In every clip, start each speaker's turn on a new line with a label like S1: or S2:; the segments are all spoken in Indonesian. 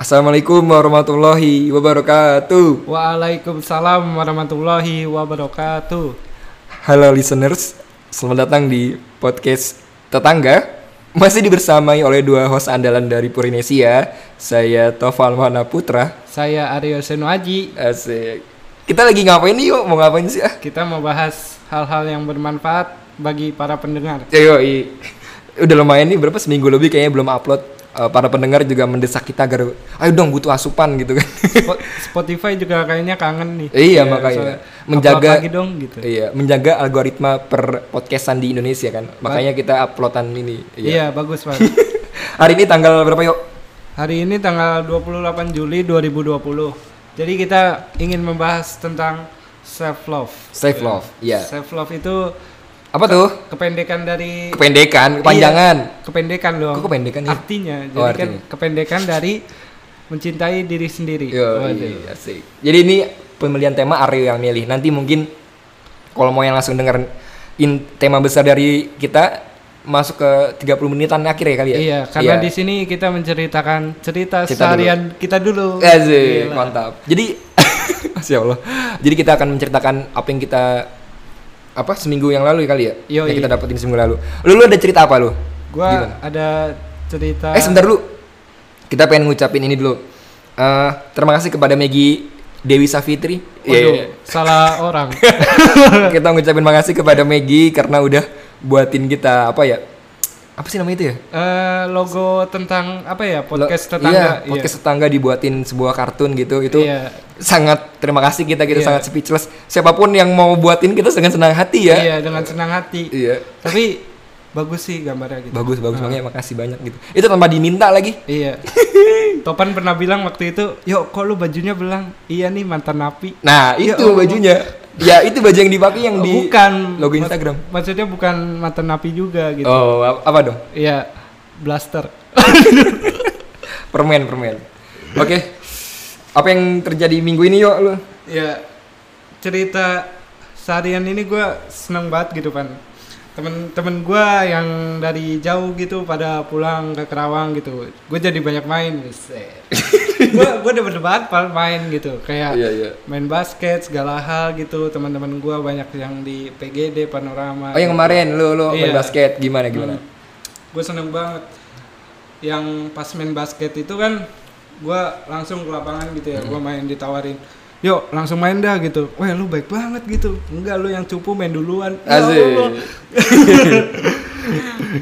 S1: Assalamualaikum warahmatullahi wabarakatuh.
S2: Waalaikumsalam warahmatullahi wabarakatuh.
S1: Halo listeners, selamat datang di podcast Tetangga. Masih dibersamai oleh dua host andalan dari Purinesia. Saya Tofal Mohana Putra.
S2: Saya Aryo Senwaji.
S1: Asik. Kita lagi ngapain nih yuk? Mau ngapain sih ah?
S2: Kita mau bahas hal-hal yang bermanfaat bagi para pendengar.
S1: Ya, Yoi. Udah lumayan nih berapa seminggu lebih kayaknya belum upload. Eh, para pendengar juga mendesak kita agar ayo dong butuh asupan gitu kan.
S2: Spo- Spotify juga kayaknya kangen nih.
S1: Iya,
S2: Ya,
S1: makanya.
S2: soalnya,
S1: Menjaga-
S2: upload lagi dong gitu.
S1: iya, menjaga algoritma per podcastan di Indonesia kan. Makanya kita uploadan ini.
S2: Iya, bagus Pak.
S1: Hari ini tanggal berapa yuk?
S2: Hari ini tanggal 28 Juli 2020. Jadi kita ingin membahas tentang self love.
S1: Self love. Iya.
S2: Self love itu
S1: Apa tuh?
S2: kependekan dari Iya.
S1: Kependekan, kepanjangan.
S2: kependekan dong.
S1: Kok kependekan ya?
S2: Artinya, jadi
S1: Oh,
S2: kan
S1: artinya.
S2: kependekan dari mencintai diri sendiri. Oh, gitu.
S1: Yo,
S2: Waduh.
S1: iya, asik. Jadi ini pemilihan tema Aryo yang milih. Nanti mungkin kalau mau yang langsung denger in- tema besar dari kita masuk ke 30 menitan akhir ya kali ya.
S2: Iya, karena di sini kita menceritakan cerita
S1: Cerita
S2: seharian kita dulu. Iya.
S1: Asik,
S2: Gila.
S1: mantap. Jadi Masya Allah. Jadi kita akan menceritakan apa yang kita apa seminggu yang lalu ya kali ya
S2: Yo,
S1: yang
S2: iya.
S1: kita dapetin seminggu lalu. Lu, lu ada cerita apa lu?
S2: Gua
S1: Gimana?
S2: ada cerita
S1: Eh sebentar dulu. Kita pengen ngucapin ini dulu. Eh, terima kasih kepada Megi Dewi Safitri.
S2: Waduh,
S1: iya,
S2: salah orang.
S1: kita ngucapin makasih kepada Megi karena udah buatin kita apa ya? Apa sih namanya itu ya?
S2: Eh, logo tentang apa ya?
S1: Lo-
S2: Podcast
S1: iya,
S2: tetangga. Iya.
S1: podcast tetangga dibuatin sebuah kartun gitu. Itu
S2: Iya.
S1: sangat terima kasih kita kita
S2: Iya.
S1: sangat speechless. Siapapun yang mau buatin kita dengan senang hati ya.
S2: Iya, dengan senang hati.
S1: Iya.
S2: Tapi bagus sih gambarnya gitu.
S1: Bagus bagus banget, makasih banyak gitu. Itu tanpa diminta lagi.
S2: Iya. Topan pernah bilang waktu itu, "Yo, kok lu bajunya belang?" Iya nih mantan napi.
S1: Nah,
S2: Ya
S1: itu
S2: Allah.
S1: bajunya. Ya, itu baju yang dipakai yang di
S2: bukan
S1: logo
S2: mak-
S1: Instagram.
S2: maksudnya bukan mantan napi juga gitu.
S1: Oh, ap- apa dong?
S2: Iya, blaster.
S1: Permen, permen. Oke. Apa yang terjadi minggu ini yuk lu?
S2: Ya cerita seharian ini gue seneng banget gitu kan. Temen-temen gue yang dari jauh gitu pada pulang ke Kerawang gitu. Gue jadi banyak main. gue gue udah berdebat pal main gitu kayak
S1: iya.
S2: main basket segala hal gitu teman-teman gue banyak yang di PGD Panorama
S1: Oh, yang kemarin lu lu main
S2: Iya.
S1: basket gimana gimana?
S2: gue seneng banget yang pas main basket itu kan gue langsung ke lapangan gitu ya gue main ditawarin yuk langsung main dah gitu wah lu baik banget gitu enggak lu yang cupu main duluan Ya
S1: Asik.
S2: Allah.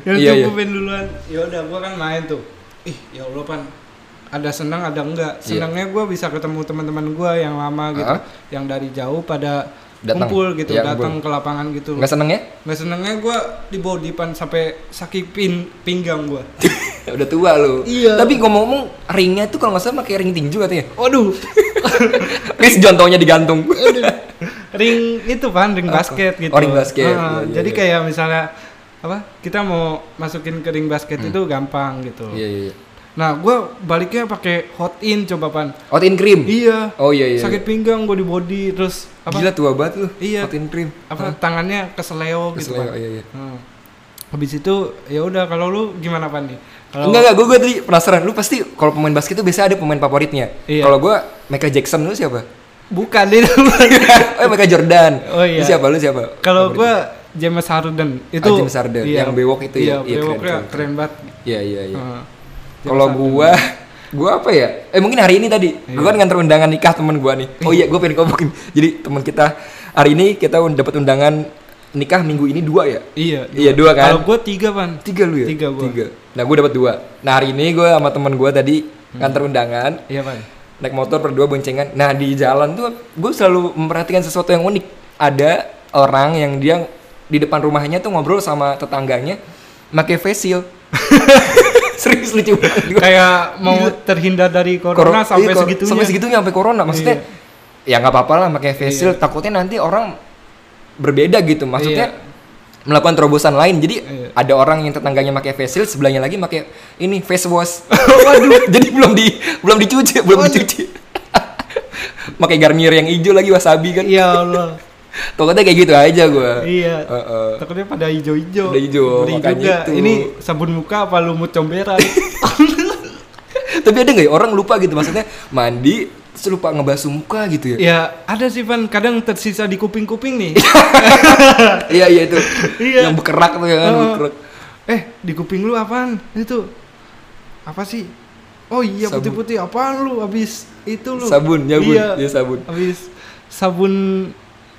S2: yang
S1: Iya,
S2: cupu
S1: iya.
S2: main duluan ya udah gue kan main tuh ih ya allah pan ada senang ada enggak
S1: Iya.
S2: senangnya gue bisa ketemu teman-teman gue yang lama gitu
S1: Ah.
S2: yang dari jauh pada
S1: Datang.
S2: kumpul gitu
S1: Iya,
S2: datang ke lapangan gitu
S1: Enggak seneng ya?
S2: Nggak senengnya gue di dipan sampai sakit pin pinggang gue.
S1: Udah tua lu.
S2: Iya.
S1: Tapi ngomong-ngomong ringnya tuh kalau nggak salah pakai ring tinju katanya.
S2: Waduh,
S1: Terus jontohnya digantung.
S2: ring itu pan ring basket gitu.
S1: Oh, ring basket.
S2: Ah,
S1: Iya, iya,
S2: jadi
S1: iya.
S2: kayak misalnya apa kita mau masukin ke ring basket itu gampang gitu.
S1: Hmm. Iya iya. iya.
S2: Nah gue baliknya pakai hot in coba pan.
S1: Hot in cream.
S2: Iya.
S1: Hmm. Oh iya iya.
S2: Sakit pinggang gue di body terus apa?
S1: Gila tua banget lu.
S2: Iya.
S1: Hot in cream.
S2: Apa tangannya keseleo, gitu
S1: Keseleo,
S2: pan.
S1: iya, iya.
S2: Hmm. Habis itu ya udah kalau lu gimana pan nih? Kalau
S1: Enggak enggak, gue gue tadi penasaran. Lu pasti kalau pemain basket tuh biasanya ada pemain favoritnya.
S2: Iya.
S1: Kalau gue Michael Jackson lu siapa?
S2: bukan itu.
S1: oh Michael Jordan.
S2: Oh, iya.
S1: Lu siapa lu siapa?
S2: Kalau gua James Harden itu
S1: Ah, James Harden, yang bewok itu ya?
S2: Iya,
S1: Iya,
S2: bewoknya
S1: keren,
S2: keren, banget. Hmm.
S1: Iya iya iya.
S2: Heeh.
S1: Kalau gua gua apa ya? Eh mungkin hari ini tadi.
S2: Iya.
S1: Gua kan nganter undangan nikah temen gua nih. Oh iya, gua pengen ngomongin. Jadi temen kita hari ini kita un- dapat undangan nikah minggu ini dua ya?
S2: Iya.
S1: Iya, dua kan?
S2: Kalau gua tiga, Pan.
S1: Tiga lu ya?
S2: Tiga gua.
S1: Nah, gua dapat dua. Nah, hari ini gua sama temen gua tadi
S2: Hmm.
S1: nganter undangan
S2: Iya, Pan.
S1: naik motor berdua boncengan. Nah, di jalan tuh gua selalu memperhatikan sesuatu yang unik. Ada orang yang dia di depan rumahnya tuh ngobrol sama tetangganya pakai face shield. Serius lucu banget gua.
S2: Kayak mau terhindar dari corona
S1: Koro-
S2: sampai
S1: iya, kor-
S2: segitunya. Iya.
S1: sampai segitunya sampai corona maksudnya ya nggak apa-apa lah pakai face shield takutnya nanti orang berbeda gitu maksudnya melakukan terobosan lain jadi
S2: Iya.
S1: ada orang yang tetangganya pakai face shield sebelahnya lagi pakai ini face wash waduh jadi belum di belum dicuci belum dicuci pakai Garnier yang hijau lagi wasabi kan
S2: Iya, Allah.
S1: takutnya kayak gitu aja gua
S2: iya.
S1: Heeh.
S2: Takutnya pada hijau-hijau.
S1: Pada Eh. hijau,
S2: Ngeri
S1: makanya
S2: juga.
S1: itu.
S2: Ini sabun muka apa lumut comberan?
S1: Tapi ada nggak ya orang lupa gitu maksudnya mandi terus lupa ngebasuh muka gitu ya?
S2: Ya ada sih Van, kadang tersisa di kuping-kuping nih.
S1: Iya iya itu.
S2: Iya.
S1: Yang berkerak tuh ya kan
S2: Oh.
S1: berkerak.
S2: eh di kuping lu apaan? Itu apa sih? Oh iya
S1: Sabun.
S2: putih-putih apaan lu abis itu lu?
S1: Sabun, nyabun,
S2: Iya.
S1: ya sabun.
S2: Abis sabun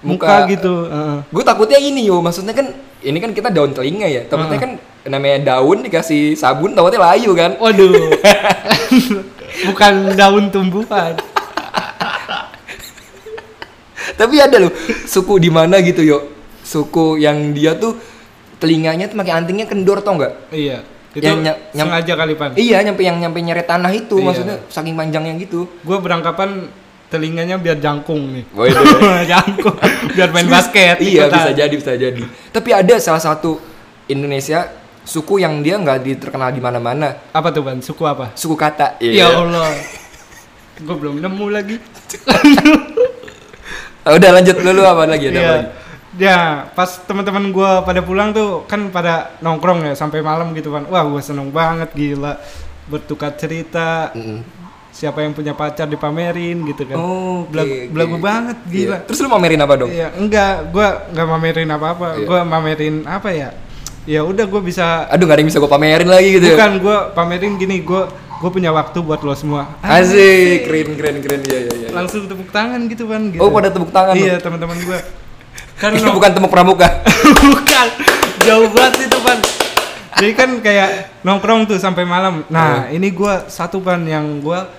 S2: muka,
S1: Muka.
S2: gitu. Heeh.
S1: Gue takutnya ini yo, maksudnya kan ini kan kita daun telinga ya. Takutnya
S2: Ah.
S1: kan namanya daun dikasih sabun takutnya layu kan.
S2: Waduh. Bukan daun tumbuhan.
S1: Tapi ada loh suku di mana gitu yo. Suku yang dia tuh telinganya tuh pakai antingnya kendor tau nggak?
S2: Iya. Itu
S1: Yang ny- nyam-
S2: sengaja kali Pan.
S1: Iya, nyampe yang nyampe nyeret tanah itu
S2: Iya.
S1: maksudnya saking panjangnya gitu.
S2: Gue berangkapan telinganya biar jangkung nih.
S1: Waduh.
S2: jangkung biar main basket.
S1: iya
S2: ikutan.
S1: bisa jadi bisa jadi. Tapi ada salah satu Indonesia suku yang dia nggak diterkenal di mana-mana.
S2: Apa tuh Pan? Suku apa?
S1: Suku kata. Iya.
S2: Ya Allah. Gue belum nemu lagi.
S1: Ah, udah lanjut dulu apa lagi ada apa
S2: Iya.
S1: lagi?
S2: Ya, pas teman-teman gua pada pulang tuh kan pada nongkrong ya sampai malam gitu kan. Wah, gua seneng banget gila. Bertukar cerita.
S1: Mm-mm.
S2: Siapa yang punya pacar dipamerin gitu kan.
S1: Oh, oke,
S2: Belagu-
S1: oke.
S2: belagu banget gila.
S1: Iya. Terus lu mamerin apa dong?
S2: Iya, enggak, gua enggak mamerin apa-apa.
S1: Iya.
S2: Gua mamerin apa ya? Ya udah gua bisa
S1: Aduh, gak ada yang bisa gue pamerin lagi gitu. ya.
S2: bukan gua pamerin gini, gua gua punya waktu buat lo semua.
S1: Asik, keren keren keren ya ya ya.
S2: Langsung tepuk tangan gitu kan gitu.
S1: Oh, pada tepuk tangan.
S2: Iya, teman-teman gua. Kan
S1: Ini
S2: nong-
S1: bukan temu pramuka.
S2: bukan jauh banget itu pan jadi kan kayak nongkrong tuh sampai malam nah ini gua satu pan yang gua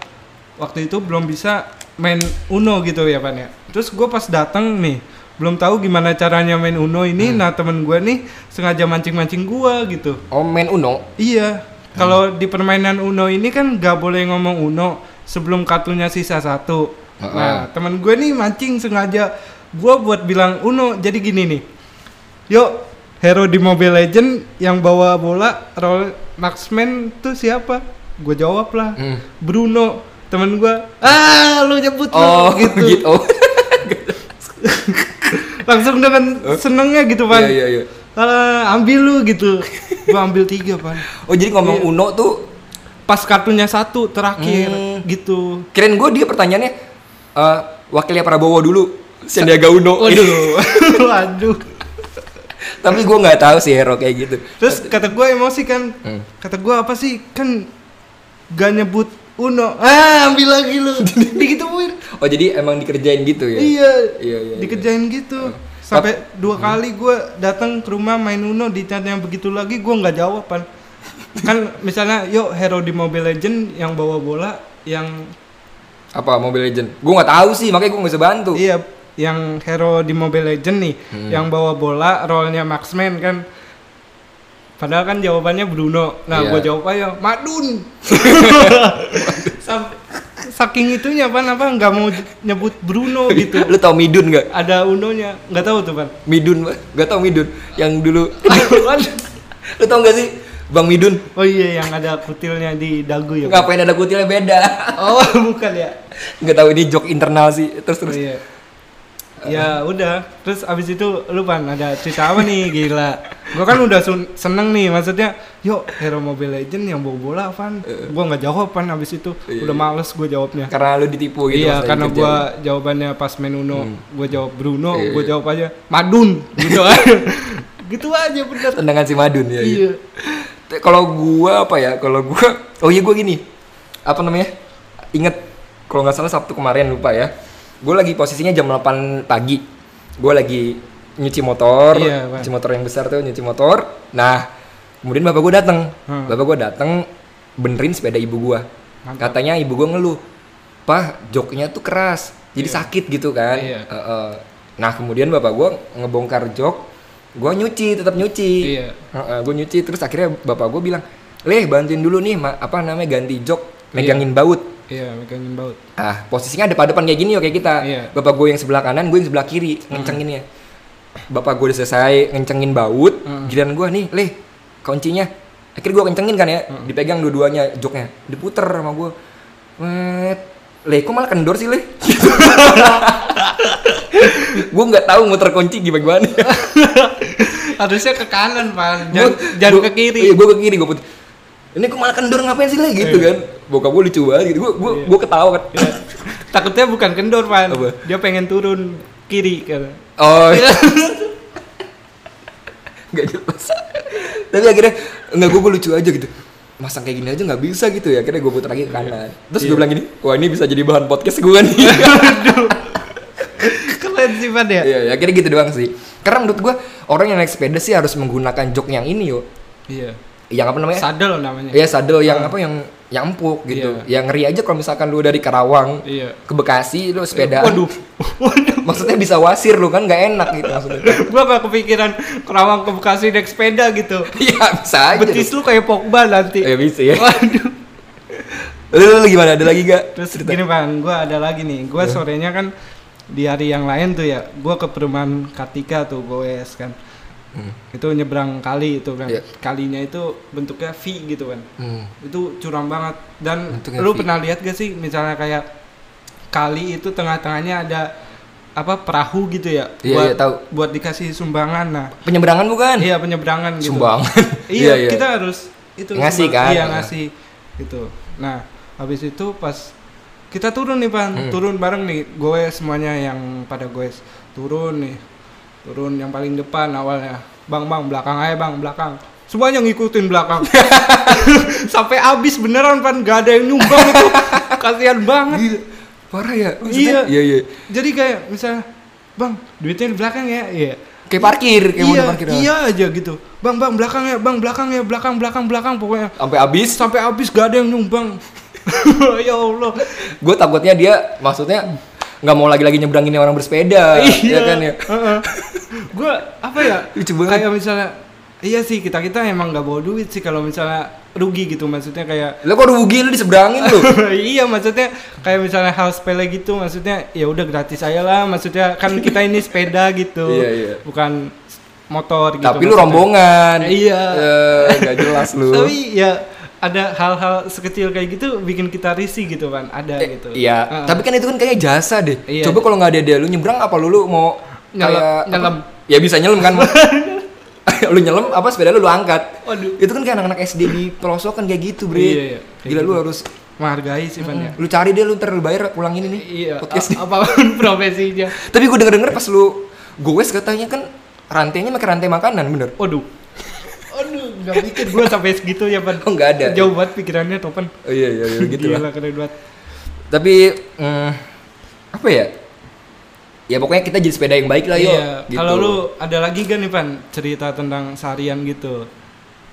S2: waktu itu belum bisa main uno gitu ya pan ya terus gua pas datang nih belum tahu gimana caranya main uno ini nah temen gua nih sengaja mancing mancing gua gitu
S1: Oh, main Uno.
S2: iya
S1: Hmm.
S2: kalau di permainan uno ini kan gak boleh ngomong uno sebelum kartunya sisa satu
S1: Heeh.
S2: nah temen gue nih mancing sengaja gua buat bilang uno jadi gini nih Yuk, hero di Mobile Legend yang bawa bola role marksman tuh siapa? Gue jawab lah.
S1: Hmm.
S2: Bruno, temen gua. Ah, lu nyebut lu."
S1: Oh, gitu.
S2: gitu.
S1: Oh.
S2: Langsung dengan senengnya gitu, Pan.
S1: Iya iya iya.
S2: "Ah, ambil lu gitu. Gua ambil tiga, Pan.
S1: Oh, jadi
S2: Iya.
S1: ngomong Uno tuh
S2: Pas kartunya satu terakhir
S1: Hmm.
S2: gitu.
S1: keren gue dia pertanyaannya eh, wakilnya Prabowo dulu Sandiaga Uno. Gitu.
S2: Waduh. Waduh.
S1: Tapi gue nggak tahu sih hero kayak gitu.
S2: Terus kata gue emosi kan.
S1: Hmm.
S2: Kata gue apa sih? Kan gak nyebut Uno. Ah, ambil lagi lu. Digituin.
S1: Oh, jadi emang dikerjain gitu ya?
S2: Iya,
S1: Iya, iya, Hmm.
S2: dikerjain gitu. Sampai dua kali gue datang ke rumah main Uno ditanya begitu lagi gue nggak jawab Pan. kan misalnya yuk hero di Mobile Legend yang bawa bola yang
S1: Apa Mobile Legend? Gue nggak tahu sih, makanya gue nggak bisa bantu.
S2: iya yang hero di Mobile Legend nih yang bawa bola role-nya Maxman kan padahal kan jawabannya Bruno nah
S1: Iya.
S2: gue jawab aja Madun Sam- saking itunya pan apa nggak mau nyebut Bruno gitu
S1: Lu tau Midun nggak?
S2: ada Unonya nggak tahu tuh pan
S1: Midun, Pak. nggak tau Midun. Yang dulu, lu tau nggak sih, Bang Midun?
S2: Oh iya yang ada kutilnya di dagu ya. Pak?
S1: Ngapain ada kutilnya beda?
S2: Oh bukan ya.
S1: Nggak tahu ini joke internal sih. Terus
S2: Oh,
S1: terus. Ah.
S2: iya. Ya udah, terus abis itu lu pan ada cerita apa nih gila? Gua kan udah sun- seneng nih maksudnya, yuk hero Mobile Legend yang bawa bola pan.
S1: Eh.
S2: Gua nggak jawab pan abis itu, udah males gue jawabnya.
S1: Karena lu ditipu Iya. gitu.
S2: iya
S1: pas lagi
S2: karena
S1: kerja. Hmm.
S2: gua jawabannya pas main Uno, gua jawab Bruno,
S1: Iya,
S2: gua
S1: iya.
S2: jawab aja Madun gitu aja. gitu aja bener.
S1: tendangan si Madun ya.
S2: Iya.
S1: Te- Kalau gua apa ya? Kalau gua oh iya gua gini. Apa namanya? Ingat kalau nggak salah Sabtu kemarin lupa ya. Gua lagi posisinya jam 8 pagi. Gua lagi nyuci motor,
S2: Iya, Pak.
S1: nyuci motor yang besar tuh nyuci motor. Nah, kemudian bapak gua datang.
S2: Hmm.
S1: Bapak gua datang benerin sepeda ibu gua.
S2: Mantap.
S1: Katanya ibu gua ngeluh, "Pak, joknya tuh keras." Jadi sakit gitu kan.
S2: Iya.
S1: Heeh. Nah, kemudian bapak gua ngebongkar jok, gua nyuci, tetap nyuci.
S2: Iya.
S1: gue nyuci terus akhirnya bapak gue bilang, leh bantuin dulu nih ma- apa namanya ganti jok, megangin baut.
S2: Iya megangin baut.
S1: Ah posisinya depan depan kayak gini ya kayak kita.
S2: Iya.
S1: Bapak gue yang sebelah kanan, gue yang sebelah kiri ngencenginnya. Bapak gue udah selesai ngencengin baut, giliran gue nih leh kuncinya. Akhirnya gue kencengin kan ya, dipegang dua-duanya joknya, diputer sama gue. Wet, leh kok malah kendor sih leh? gue nggak tahu muter kunci gimana.
S2: Harusnya ke kanan pan,
S1: Gua-
S2: jangan, jangan
S1: gua-
S2: ke kiri.
S1: Iya, gue ke kiri, gue putih. Ini kok malah kendor ngapain sih lah gitu kan. bokap gue lucu banget gitu gue gue
S2: Iya.
S1: gue ketawa kan
S2: Ya. Takutnya bukan kendor, Pan.
S1: Apa?
S2: Dia pengen turun kiri kata.
S1: oh nggak jelas tapi akhirnya nggak gue lucu aja gitu masang kayak gini aja nggak bisa gitu ya akhirnya gue putar lagi
S2: Iya.
S1: ke kanan terus gue bilang gini wah ini bisa jadi bahan podcast gue nih
S2: Keren sih, Pan ya.
S1: Iya, ya, akhirnya gitu doang sih. Karena menurut gua orang yang naik sepeda sih harus menggunakan jok yang ini yo.
S2: Iya.
S1: Yang apa namanya?
S2: Sadel namanya.
S1: ya sadel
S2: Ah.
S1: yang apa yang yang empuk gitu. Yang ngeri aja kalau misalkan lu dari Karawang
S2: Iya.
S1: ke Bekasi lu sepeda.
S2: Waduh. Waduh.
S1: Maksudnya bisa wasir lu kan nggak enak gitu maksudnya.
S2: Gua gak kepikiran kerawang ke Bekasi naik sepeda gitu.
S1: Iya, bisa aja.
S2: Betis lu kayak Pogba nanti.
S1: Ya bisa ya.
S2: Waduh.
S1: Lu, lu gimana ada lagi gak?
S2: Terus gini bang, gue ada lagi nih. Gue sorenya kan di hari yang lain tuh ya, gue ke perumahan Kartika tuh goes kan.
S1: Hmm,
S2: Itu nyebrang kali itu kan.
S1: Iya.
S2: Kalinya itu bentuknya V gitu kan.
S1: Hmm.
S2: Itu curam banget. Dan
S1: Bentuknya
S2: lu
S1: V.
S2: pernah lihat gak sih misalnya kayak kali itu tengah-tengahnya ada apa perahu gitu ya
S1: Iya,
S2: buat
S1: iya, tahu.
S2: buat dikasih sumbangan nah
S1: Penyeberangan bukan?
S2: iya penyeberangan gitu
S1: Sumbang.
S2: iya, kita harus itu
S1: Ngasih
S2: sumber-
S1: kan? Iya.
S2: iya ngasih gitu nah habis itu pas kita turun nih pan
S1: Hmm.
S2: turun bareng nih gue semuanya yang pada gue turun nih turun yang paling depan awalnya bang bang belakang aja bang belakang semuanya ngikutin belakang sampai habis beneran pan gak ada yang nyumbang itu kasihan banget
S1: Gila. Parah ya? Maksudnya?
S2: Iya.
S1: Iya, iya.
S2: jadi kayak misalnya bang duitnya di belakang ya iya
S1: Kayak parkir, kayak
S2: iya,
S1: model parkir.
S2: iya aja gitu. Bang, bang, belakang ya, bang, belakang ya, belakang, belakang, belakang pokoknya.
S1: Sampai habis
S2: Sampai habis gak ada yang nyumbang. ya Allah.
S1: gue takutnya dia maksudnya nggak mau lagi-lagi nyebrangin orang bersepeda
S2: Iya.
S1: ya kan ya
S2: Gue apa ya?
S1: Lucu banget.
S2: Kayak misalnya Iya sih kita kita emang nggak bawa duit sih kalau misalnya rugi gitu maksudnya kayak
S1: lo kok rugi lu diseberangin lu
S2: iya maksudnya kayak misalnya hal sepele gitu maksudnya ya udah gratis aja lah maksudnya kan kita ini sepeda gitu
S1: Iya, iya.
S2: bukan motor gitu
S1: tapi lu
S2: maksudnya.
S1: rombongan
S2: Iya.
S1: Eh, nggak jelas lu
S2: Tapi ya ada hal-hal sekecil kayak gitu bikin kita risih gitu kan, ada
S1: Eh,
S2: gitu.
S1: iya
S2: Heeh.
S1: tapi kan itu kan kayaknya jasa deh
S2: Iya.
S1: coba kalau nggak ada dia lu nyebrang apa lu, lu mau
S2: Nyelem-
S1: kayak apa?
S2: nyelem.
S1: ya bisa nyelem kan lu nyelem apa sepeda lu lu angkat
S2: Waduh.
S1: itu kan kayak anak-anak SD di pelosokan kayak gitu bre
S2: Iya, iya. Kayak
S1: gila lu
S2: gitu.
S1: harus
S2: menghargai sih Van ya.
S1: lu cari deh lu ntar lu bayar pulang ini nih
S2: Iya,
S1: podcast
S2: a- apapun profesinya.
S1: Tapi gue denger-denger pas lu goes katanya kan rantainya pakai rantai makanan bener.
S2: Waduh. Aduh, nggak pikir gue sampai segitu ya, Van.
S1: Oh nggak ada.
S2: Jauh banget pikirannya, Topan.
S1: Oh, iya iya iya, gitu lah.
S2: Gila, keren banget.
S1: Tapi mm, apa ya? Ya pokoknya kita jadi sepeda yang baik lah yuk.
S2: Iya,
S1: gitu.
S2: kalau lu ada lagi kan nih, Van, cerita tentang seharian gitu.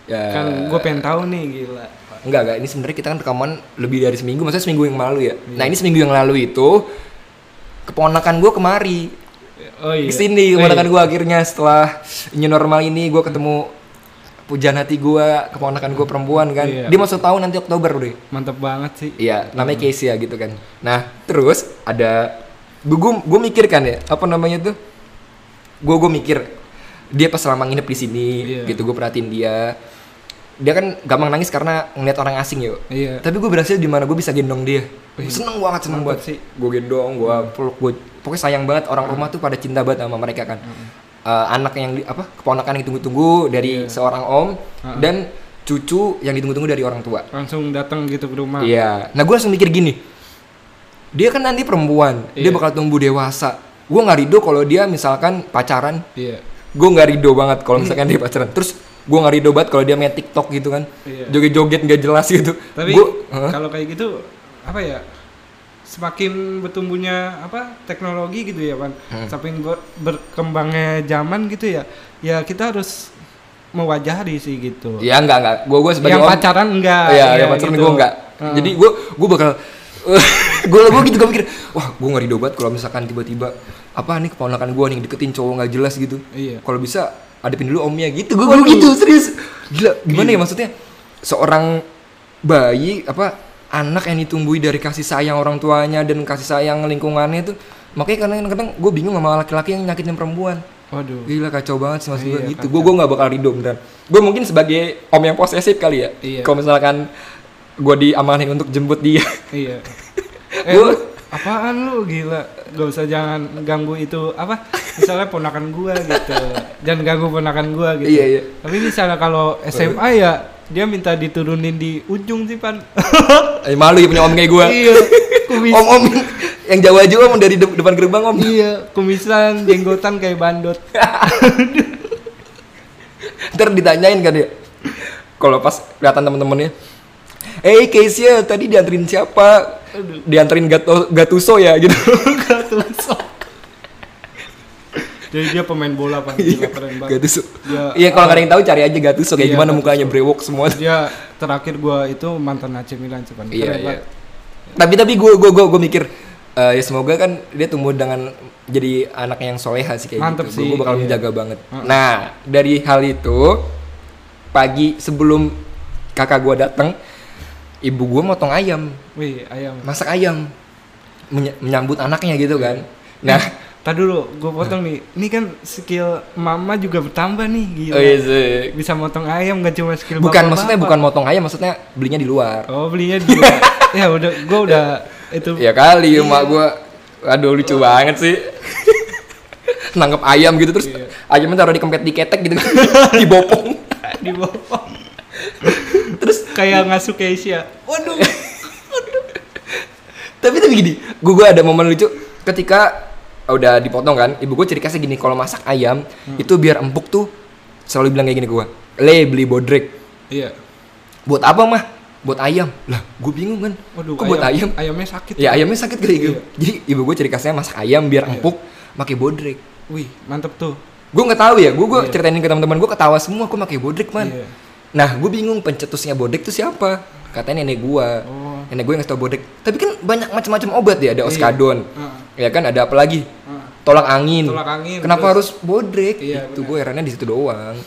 S1: ya,
S2: Kan gue pengen tahu nih, gila.
S1: Enggak, enggak. Ini sebenarnya kita kan rekaman lebih dari seminggu. Maksudnya seminggu yang
S2: Iya.
S1: lalu ya. Nah ini seminggu yang lalu itu keponakan gue kemari
S2: Oh iya.
S1: ke sini
S2: Oh, iya.
S1: keponakan gue akhirnya setelah new normal ini gue ketemu pujian hati gue keponakan gue perempuan kan
S2: Iya.
S1: dia masuk tahun nanti Oktober deh
S2: Mantep banget sih.
S1: Iya, namanya Casey ya gitu kan. Nah, terus ada gue gue mikir kan ya, apa namanya tuh? Gue gue mikir dia pas selama nginep di sini
S2: Iya.
S1: gitu gue perhatiin dia. Dia kan gampang nangis karena ngeliat orang asing yuk.
S2: Iya.
S1: Tapi gue berhasil di mana gue bisa gendong dia. Seneng banget seneng
S2: Mantap
S1: banget
S2: sih. Hmm.
S1: Gue gendong, gue peluk, gue pokoknya sayang banget orang rumah tuh pada cinta banget sama mereka kan.
S2: Hmm.
S1: Eh, anak yang di- apa keponakan yang ditunggu-tunggu dari
S2: Iya.
S1: seorang om
S2: Hmm.
S1: dan cucu yang ditunggu-tunggu dari orang tua.
S2: Langsung datang gitu ke rumah.
S1: Iya. Nah gue langsung mikir gini, dia kan nanti perempuan, dia
S2: Iya.
S1: bakal tumbuh dewasa. Gue nggak ridho kalau dia misalkan pacaran,
S2: Iya.
S1: gue nggak ridho banget kalau
S2: Hmm.
S1: misalkan dia pacaran. Terus gue nggak ridho banget kalau dia main TikTok gitu kan,
S2: Iya.
S1: joget-joget nggak jelas gitu.
S2: Tapi
S1: Gua- Hah?
S2: kalau kayak gitu apa ya? Semakin bertumbuhnya apa teknologi gitu ya, Pan. Semakin ber- berkembangnya zaman gitu ya. Ya kita harus mewajari sih gitu.
S1: ya nggak nggak, gue gue sebagai
S2: yang
S1: orang-
S2: pacaran enggak. gitu.
S1: Iya, yang pacaran gue nggak. Jadi gue gue bakal gue gue gitu gue mikir, wah gue nggak ridho banget kalau misalkan tiba-tiba apa nih keponakan gue nih deketin cowok nggak jelas gitu.
S2: Iya.
S1: Kalau bisa adepin dulu omnya gitu. Gue gitu serius. Gila, gimana ya maksudnya? Seorang bayi apa anak yang ditumbuhi dari kasih sayang orang tuanya dan kasih sayang lingkungannya itu makanya kadang-kadang gue bingung sama laki-laki yang nyakitin perempuan
S2: Waduh.
S1: Gila kacau banget sih mas gue
S2: Iya,
S1: gitu. Gue gue nggak bakal ridho beneran. Gue mungkin sebagai om yang posesif kali ya.
S2: Iya.
S1: Kalau misalkan gue diamanahin untuk jemput dia.
S2: Iya. Eh,
S1: Gua-
S2: lu apaan lu gila? Gak usah jangan ganggu itu apa? Misalnya ponakan gua gitu. Jangan ganggu ponakan gua gitu.
S1: Iya, iya.
S2: Tapi misalnya kalau SMA ya dia minta diturunin di ujung sih pan
S1: Eh, malu ya punya om kayak gue.
S2: iya kumis
S1: om om yang jauh aja om dari de- depan gerbang om.
S2: iya kumisan jenggotan kayak bandot
S1: Ntar ditanyain kan ya. Kalau pas kelihatan temen-temennya. Eh, Keisha tadi dianterin siapa? Dianterin Gato, Gatuso ya gitu.
S2: Gattuso jadi dia pemain bola pan Gila,
S1: Iya.
S2: keren banget
S1: Gatuso.
S2: Ya.
S1: Iya, kalau nggak ada yang tahu cari aja Gatuso kayak
S2: Iya,
S1: gimana
S2: Gattuso.
S1: mukanya brewok semua.
S2: dia terakhir gua itu mantan AC Milan sih pan keren
S1: Iya, iya.
S2: banget
S1: Tapi tapi gue gue gue mikir eh, ya semoga kan dia tumbuh dengan jadi anak yang soleha sih kayak
S2: Mantep
S1: gitu.
S2: sih,
S1: Gue bakal
S2: iya.
S1: menjaga banget. Nah, dari hal itu pagi sebelum kakak gue datang, ibu gue motong ayam,
S2: wih ayam
S1: masak ayam Menya- menyambut anaknya gitu kan. Nah,
S2: Tadi dulu, gue potong nih. Ini kan skill mama juga bertambah nih, gila.
S1: oh iya sih.
S2: Bisa motong ayam gak cuma skill
S1: bukan
S2: bapak-bapak.
S1: maksudnya bukan motong ayam, maksudnya belinya di luar.
S2: Oh belinya dia. ya udah, gue udah itu.
S1: Ya kali
S2: Iya.
S1: emak gue, aduh lucu banget sih. Nangkep ayam gitu terus
S2: Iya.
S1: ayamnya taruh di kempet di ketek gitu, dibopong.
S2: di bawah. Terus kayak ngasuh Keisha. Waduh.
S1: Tapi tapi gini, gue ada momen lucu ketika udah dipotong kan, ibu gue ciri khasnya gini kalau masak ayam
S2: Hmm.
S1: itu biar empuk tuh selalu bilang kayak gini ke gue, le beli bodrek,
S2: Iya.
S1: buat apa mah? Buat ayam lah, gue bingung kan,
S2: Waduh.
S1: kok buat ayam?
S2: Ayamnya sakit.
S1: Ya ayamnya sakit kali gitu.
S2: Iya.
S1: Jadi ibu gue ciri khasnya masak ayam biar empuk, pakai bodrek.
S2: Wih, mantep tuh.
S1: Gue nggak tahu ya, gue gue ceritain ke teman-teman gue ketawa semua, gue pakai bodrek man.
S2: Iya.
S1: Nah gue bingung pencetusnya bodrek tuh siapa? Katanya nenek gue,
S2: Oh. Iya.
S1: nenek gue yang ngasih tau bodrek. Tapi kan banyak macam-macam obat ya, ada oskadon,
S2: Heeh,
S1: ya kan ada apa lagi?
S2: heeh.
S1: Tolak angin.
S2: Tolak angin,
S1: Kenapa
S2: terus-
S1: harus bodrek?
S2: Iya,
S1: itu
S2: benar.
S1: gue herannya di situ doang.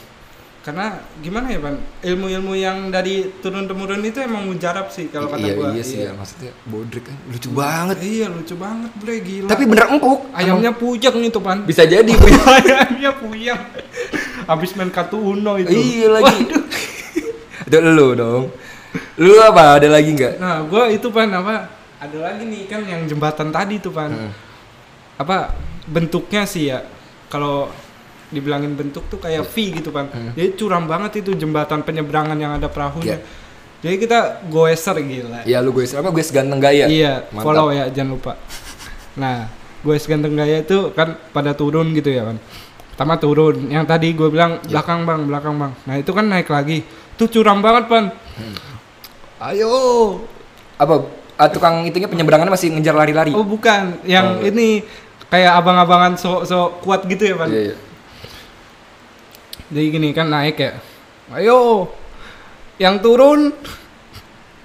S2: Karena gimana ya, Pan? Ilmu-ilmu yang dari turun temurun itu emang mujarab sih kalau kata
S1: iya
S2: gua.
S1: iya sih ya, maksudnya bodrek kan lucu banget.
S2: Iya, lucu banget, bre, gila.
S1: Tapi bener empuk.
S2: ayamnya puyeng itu, Pan.
S1: Emang bisa jadi.
S2: ayamnya puyeng habis main kartu uno itu
S1: iya lagi. itu lu dong. Lu apa? Ada lagi nggak?
S2: nah gua itu pan apa ada lagi nih kan yang jembatan tadi tuh pan
S1: Heeh.
S2: apa bentuknya sih ya kalau dibilangin bentuk tuh kayak V gitu pan jadi curam banget itu jembatan penyeberangan yang ada perahunya
S1: Hmm. Iya.
S2: jadi kita goeser gila
S1: Ya lu gue apa gue ganteng gaya.
S2: Iya,
S1: Mantap.
S2: follow ya, jangan lupa. Nah, gue ganteng gaya itu kan pada turun gitu ya kan. Pertama turun, yang tadi gue bilang
S1: Iya.
S2: belakang bang, belakang bang. Nah itu kan naik lagi, tuh curam banget pan. Ayo,
S1: Apa ah, tukang itunya penyeberangan masih ngejar lari-lari?
S2: oh bukan, yang
S1: iya.
S2: ini kayak abang-abangan so so kuat gitu ya pan.
S1: Iya, iya.
S2: Jadi gini kan naik ya, ayo, yang turun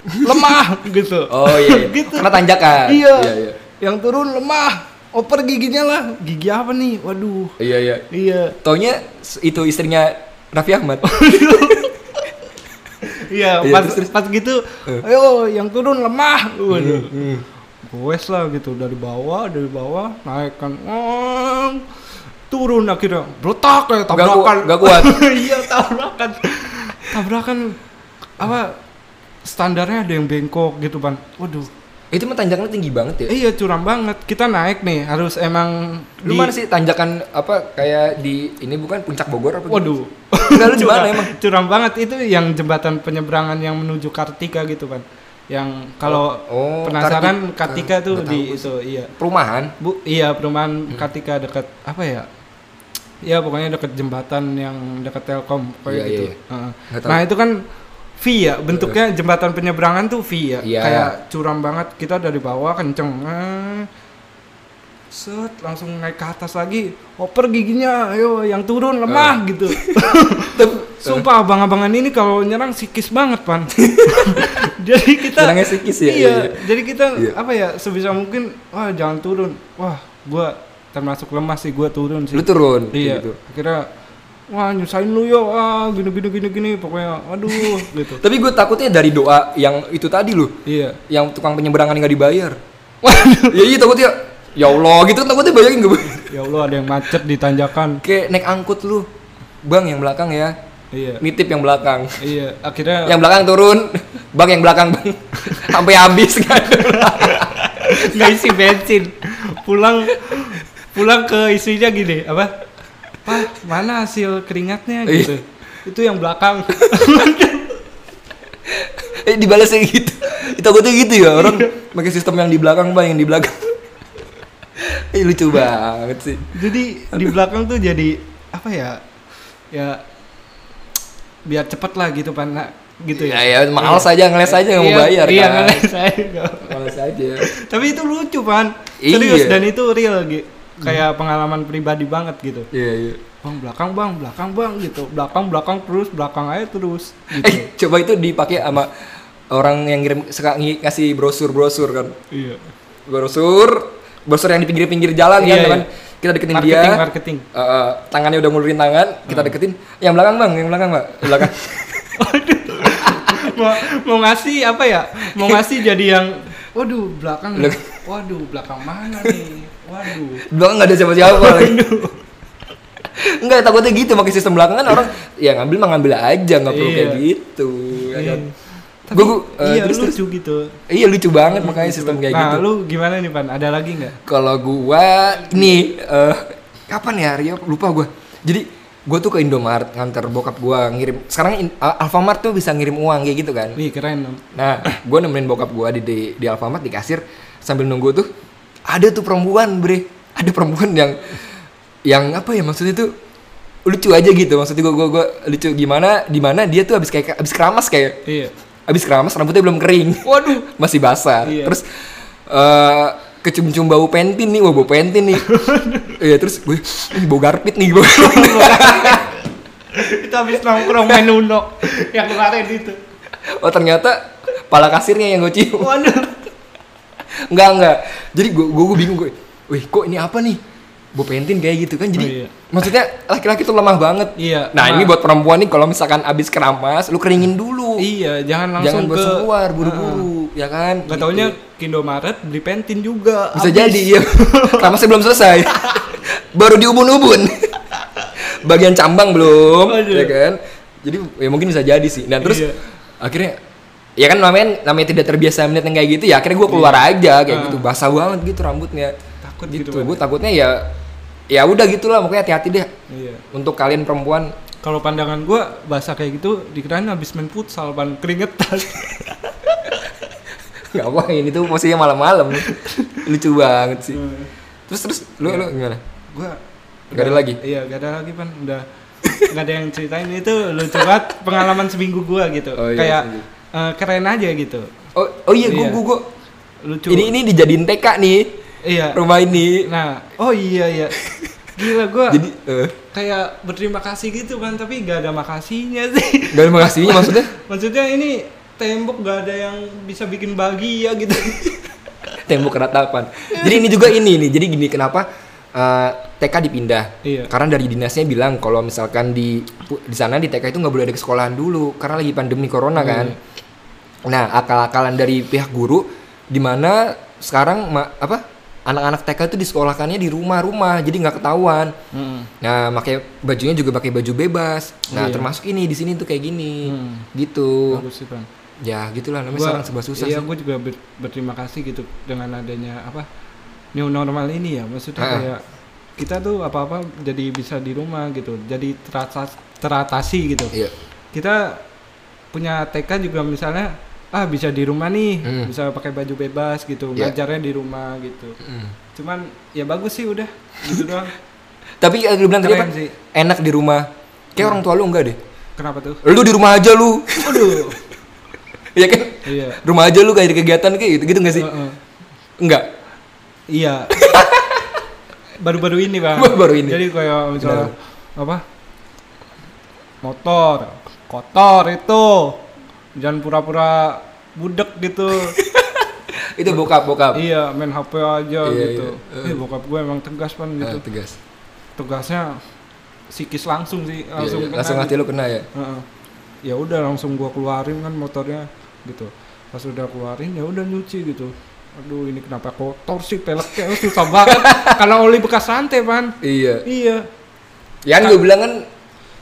S2: lemah gitu.
S1: Oh iya. iya.
S2: Gitu.
S1: Karena tanjakan.
S2: Iya.
S1: Iya iya.
S2: Yang turun lemah. Oper giginya lah. Gigi apa nih? Waduh.
S1: Iya iya.
S2: Iya.
S1: Taunya s- itu istrinya Raffi Ahmad.
S2: Iya,
S1: Iya,
S2: pas
S1: terus, Eh. terus.
S2: pas gitu, ayo yang turun lemah. Waduh. Goes lah gitu dari bawah, dari bawah naik kan. Wong. Turun akhirnya. Brotak kayak
S1: Nggak ku-
S2: tabrakan.
S1: nggak kuat.
S2: iya, tabrakan. tabrakan apa standarnya ada yang bengkok gitu, Pan. Waduh.
S1: itu mah tanjakannya tinggi banget ya.
S2: Eh, iya curam banget. Kita naik nih, harus emang
S1: Lu
S2: di-
S1: mana sih tanjakan apa kayak di ini bukan puncak Bogor apa? gitu?
S2: Waduh.
S1: Enggak lu di mana
S2: Curam-
S1: emang?
S2: Curam banget itu yang jembatan penyeberangan yang menuju Kartika gitu kan. Yang kalau
S1: Oh,
S2: penasaran
S1: Karti-
S2: Kartika tuh
S1: nggak
S2: di
S1: tahu Hmm.
S2: itu iya.
S1: Perumahan.
S2: Bu, iya perumahan Kartika dekat apa ya? Ya pokoknya dekat jembatan yang dekat Telkom
S1: Iya,
S2: kayak gitu.
S1: iya, iya.
S2: Heeh.
S1: Nggak tahu. Eh.
S2: Nah, itu kan V ya, bentuknya jembatan penyeberangan tuh V ya.
S1: Iya.
S2: Kayak curam banget kita dari bawah kenceng. Eh, Set, langsung naik ke atas lagi. Oper giginya, ayo yang turun
S1: Eh.
S2: lemah gitu. Sumpah abang-abangan ini kalau nyerang sikis banget, Pan. Jadi kita
S1: Nyerangnya sikis ya,
S2: Iya,
S1: iya, iya.
S2: jadi kita
S1: Iya.
S2: apa ya sebisa mungkin wah jangan turun. Wah, gua termasuk lemah sih gua turun sih.
S1: Lu turun kayak
S2: Iya.
S1: gitu.
S2: Akhirnya wah nyusahin lu yo ah gini gini gini gini pokoknya aduh gitu.
S1: Tapi gue takutnya dari doa yang itu tadi lu,
S2: Iya.
S1: yang tukang penyeberangan nggak dibayar. Waduh. ya iya takutnya ya Allah gitu takutnya bayangin gue.
S2: Ya Allah ada yang macet di tanjakan.
S1: Kayak naik angkut lu. Bang yang belakang ya.
S2: Iya.
S1: Nitip yang belakang.
S2: Iya, akhirnya
S1: Yang belakang turun. Bang yang belakang, Bang. Sampai habis kan.
S2: nggak isi bensin pulang pulang ke istrinya gini apa
S1: Iya.
S2: pak mana hasil keringatnya gitu itu yang belakang
S1: eh dibalasnya gitu itu gue tuh gitu ya orang
S2: Iya.
S1: pakai sistem yang di belakang pak yang di belakang eh, lucu banget sih
S2: jadi di belakang tuh jadi apa ya ya biar cepet lah gitu pan Nah, gitu
S1: ya
S2: ya
S1: ya males aja ngeles aja nggak mau bayar
S2: iya
S1: kan.
S2: ngeles aja nggak mau.
S1: males aja
S2: tapi itu lucu pan
S1: Iya.
S2: serius dan itu real gitu kayak pengalaman pribadi banget gitu
S1: iya iya
S2: bang belakang bang belakang bang gitu belakang belakang terus belakang aja terus gitu
S1: eh coba itu dipakai sama orang yang ngirim suka ngi- ngasih brosur brosur kan
S2: iya
S1: brosur brosur yang di pinggir-pinggir jalan
S2: Iya,
S1: kan
S2: iya.
S1: teman kita deketin
S2: marketing
S1: dia
S2: marketing Hmm.
S1: Eh, eh, tangannya udah ngulurin tangan kita deketin yang belakang bang yang belakang bang belakang
S2: mau, mau ngasih apa ya mau ngasih jadi yang waduh belakang nih. waduh belakang mana nih waduh
S1: belakang nggak ada siapa-siapa lagi Enggak, takutnya gitu pakai sistem belakang kan orang ya ngambil mah ngambil aja nggak perlu
S2: Iya.
S1: kayak gitu ya
S2: Iya.
S1: kan?
S2: Tapi
S1: Gua- gua, eh,
S2: iya
S1: terus,
S2: lucu
S1: terus.
S2: gitu.
S1: iya lucu banget makanya sistem kayak
S2: nah,
S1: gitu
S2: lu gimana nih Pan? Ada lagi nggak?
S1: kalau gua ini eh kapan ya Rio lupa gua jadi gua tuh ke Indomaret nganter bokap gua ngirim sekarang in- Al- Alfamart tuh bisa ngirim uang kayak gitu kan
S2: Wih keren. dong.
S1: Nah, gue nemenin bokap gue di, di di Alfamart di kasir sambil nunggu tuh ada tuh perempuan bre, ada perempuan yang yang apa ya maksudnya tuh lucu aja gitu maksudnya gue gue lucu gimana di mana dia tuh abis kayak abis keramas kayak
S2: Iya.
S1: abis keramas rambutnya belum kering
S2: Waduh.
S1: masih basah
S2: Iya.
S1: terus eh kecium-cium bau pentin nih wah bau pentin nih iya terus gue "Ih, bau garpit nih bau
S2: Kita habis nongkrong main Uno yang kemarin itu.
S1: oh ternyata pala kasirnya yang gue cium
S2: Waduh.
S1: Enggak, enggak. Jadi gua gua, gua bingung gue. Wih, kok ini apa nih? Bu pentin kayak gitu kan. Jadi
S2: Oh, iya.
S1: maksudnya laki-laki tuh lemah banget.
S2: Iya.
S1: Nah, ini buat perempuan nih kalau misalkan abis keramas, lu keringin dulu.
S2: Iya, jangan
S1: Jangan
S2: langsung
S1: langsung
S2: ke
S1: keluar buru-buru, ya kan?
S2: Gak
S1: Gitu.
S2: taunya ke Indomaret beli pentin juga.
S1: bisa
S2: Habis.
S1: jadi ya. Keramasnya belum selesai. Baru diubun-ubun. Bagian cambang belum,
S2: Aduh.
S1: ya kan? Jadi ya mungkin bisa jadi sih. Dan terus
S2: Iya.
S1: akhirnya ya kan namanya namanya tidak terbiasa melihat yang kayak gitu ya akhirnya gue keluar aja kayak
S2: Ah.
S1: gitu basah banget gitu rambutnya
S2: Takut gitu,
S1: gitu,
S2: Pan,
S1: gue takutnya ya ya udah gitulah makanya hati-hati deh
S2: Iya.
S1: untuk kalian perempuan
S2: Kalau pandangan gua basah kayak gitu dikirain habis main futsal pan keringetan.
S1: nggak apa ini tuh posisinya malam-malam lucu banget sih
S2: Hmm.
S1: terus terus lu
S2: Iya.
S1: lu gimana
S2: gua
S1: Gak ada lagi?
S2: Iya, gak ada lagi pan udah gak ada yang ceritain itu lucu banget pengalaman seminggu gua gitu.
S1: Oh, iya,
S2: Kayak
S1: seminggu.
S2: eh, keren aja gitu.
S1: oh oh iya gue
S2: Iya.
S1: gue
S2: Lucu.
S1: ini ini dijadiin TK nih
S2: iya.
S1: rumah ini
S2: Nah, oh iya iya. Gila gua
S1: jadi eh,
S2: kayak berterima kasih gitu kan, tapi gak ada makasihnya sih.
S1: nggak ada makasihnya maksudnya
S2: Maksudnya ini tembok gak ada yang bisa bikin bahagia gitu.
S1: tembok ratapan jadi ini juga ini nih jadi gini kenapa eh, TK dipindah
S2: Iya.
S1: karena dari dinasnya bilang kalau misalkan di di sana di TK itu nggak boleh ada sekolahan dulu karena lagi pandemi corona kan nah akal-akalan dari pihak guru di mana sekarang ma- apa anak-anak TK itu disekolahkannya di rumah-rumah jadi nggak ketahuan nah pakai bajunya juga pakai baju bebas nah
S2: Iya.
S1: termasuk ini di sini tuh kayak gini
S2: Hmm.
S1: gitu
S2: Bagus sih, Pan.
S1: ya gitulah namanya
S2: Gua-
S1: sekarang serba susah
S2: iya,
S1: sih
S2: gue juga ber- berterima kasih gitu dengan adanya apa new normal ini ya maksudnya
S1: Ah.
S2: kayak kita tuh apa apa jadi bisa di rumah gitu jadi terasa teratasi gitu
S1: Iya.
S2: kita punya TK juga misalnya ah bisa di rumah nih
S1: Hmm.
S2: bisa pakai baju bebas gitu
S1: Iya.
S2: ngajarnya di rumah gitu
S1: Mm.
S2: cuman ya bagus sih udah gitu doang
S1: Tapi eh, lu bilang tadi apa?
S2: Keren sih. Iya.
S1: Enak di rumah. Kayak orang tua lu enggak deh.
S2: kenapa tuh
S1: Lu di rumah aja lu.
S2: aduh
S1: Iya kan?
S2: iya
S1: Rumah aja lu kayak ada kegiatan kayak gitu gitu enggak sih?
S2: Heeh.
S1: Enggak.
S2: Iya. Baru-baru ini bang.
S1: Baru-baru ini.
S2: Jadi kayak misalnya apa? Motor kotor itu jangan pura-pura budek gitu.
S1: Itu bokap-bokap.
S2: iya main HP
S1: Iya,
S2: aja gitu.
S1: iya. Eh.
S2: Ih, bokap gue emang tegas pan gitu.
S1: Ah, tegas.
S2: Tegasnya sikis langsung sih
S1: Iya,
S2: langsung.
S1: iya.
S2: kena
S1: langsung
S2: gitu.
S1: hati lu kena ya.
S2: Heeh. ya udah langsung gua keluarin kan motornya gitu pas udah keluarin ya udah nyuci gitu aduh ini kenapa kotor sih peleknya Oh, susah banget karena oli bekas rantai pan
S1: Iya.
S2: iya
S1: Yan gue bilang kan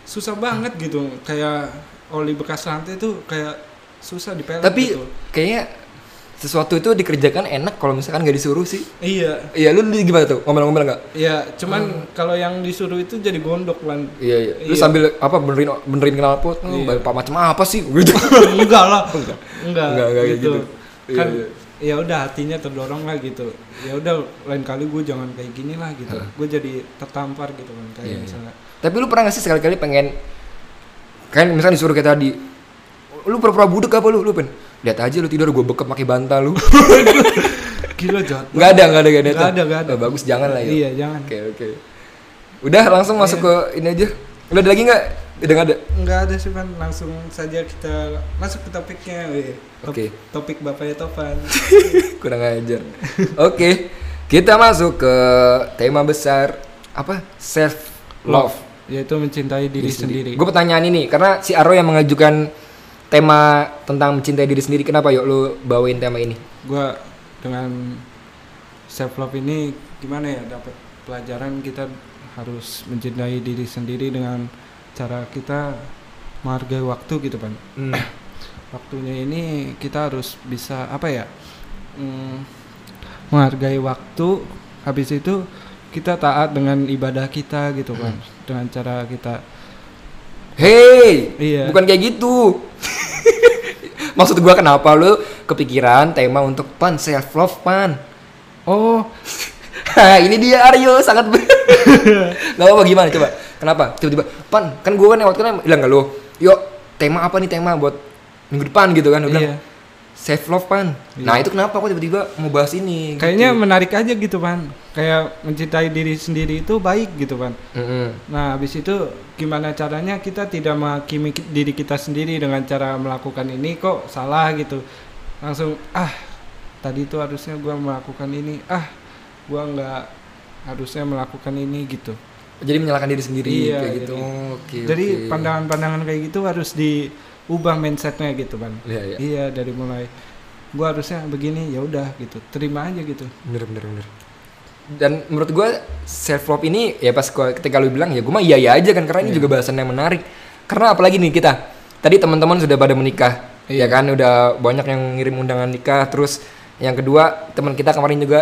S2: susah banget gitu kayak oli bekas rantai tuh kayak susah dipelek
S1: tapi
S2: gitu.
S1: kayaknya sesuatu itu dikerjakan enak kalau misalkan nggak disuruh sih
S2: Iya.
S1: iya lu di- gimana tuh ngomel-ngomel nggak
S2: Iya, cuman kalau yang disuruh itu jadi gondok lan.
S1: iya iya lu
S2: Iya.
S1: sambil apa benerin benerin knalpot oh,
S2: Iya.
S1: bapak macam apa sih gitu
S2: enggak lah. Enggak. Enggak,
S1: Enggak, enggak kayak
S2: gitu.
S1: gitu. Iya,
S2: Kan
S1: iya.
S2: ya udah hatinya terdorong lah gitu. Ya udah lain kali gue jangan kayak gini lah gitu. Gue jadi tertampar gitu kan kayak
S1: Iya, iya.
S2: misalnya.
S1: tapi lu pernah nggak sih sekali-kali pengen kan misalnya disuruh kayak tadi lu pura-pura budek apa lu lu pen lihat aja lu tidur gue bekep pakai bantal lu
S2: Gila jahat.
S1: nggak ada nggak ada nggak ada
S2: Nggak
S1: tuh.
S2: ada, nggak ada.
S1: Oh, bagus jangan lah ya
S2: Iya, jangan. Iya.
S1: oke oke udah langsung masuk ke ini aja lu ada lagi nggak udah nggak ada
S2: Enggak ada sih Pan, langsung saja kita masuk ke topiknya. weh. Top-
S1: Oke.
S2: Topik Bapaknya Topan.
S1: kurang ajar oke kita masuk ke tema besar apa self love
S2: Yaitu mencintai diri, sendiri.
S1: Gue pertanyaan ini karena si Aro yang mengajukan tema tentang mencintai diri sendiri. Kenapa yuk lu bawain tema ini?
S2: gue dengan self love ini gimana ya dapat pelajaran kita harus mencintai diri sendiri dengan cara kita menghargai waktu gitu kan waktunya ini kita harus bisa apa ya mm, menghargai waktu habis itu kita taat dengan ibadah kita gitu kan dengan cara kita
S1: Hey,
S2: Iya.
S1: bukan kayak gitu. Maksud gua kenapa lu kepikiran tema untuk pan self love pan?
S2: oh
S1: Hah, ini dia Aryo sangat ber- Gak apa gimana coba? Kenapa? Tiba-tiba pan kan gua kan waktu itu bilang gak lu, yuk tema apa nih tema buat minggu depan gitu kan? Lu bilang
S2: iya
S1: self love pan. Nah itu kenapa kok tiba-tiba mau bahas ini?
S2: kayaknya menarik aja gitu kan kayak mencintai diri sendiri itu baik gitu kan
S1: Mm-mm.
S2: Nah, habis itu gimana caranya kita tidak menghakimi ki- diri kita sendiri dengan cara melakukan ini kok salah gitu. Langsung ah, tadi itu harusnya gua melakukan ini. Ah, gua nggak harusnya melakukan ini gitu.
S1: Jadi menyalahkan diri sendiri
S2: Iya,
S1: kayak
S2: jadi-
S1: gitu. Oh, Oke.
S2: Jadi
S1: oke.
S2: pandangan-pandangan kayak gitu harus diubah mindsetnya gitu, Bang.
S1: Iya, iya.
S2: Iya, dari mulai gua harusnya begini, ya udah gitu. Terima aja gitu.
S1: Bener, bener, bener. Dan menurut gue self love ini ya pas gua, ketika lu bilang ya gue mah iya iya aja kan karena ini juga bahasan yang menarik. Karena apalagi nih kita tadi teman-teman sudah pada menikah ya kan udah banyak yang ngirim undangan nikah terus yang kedua teman kita kemarin juga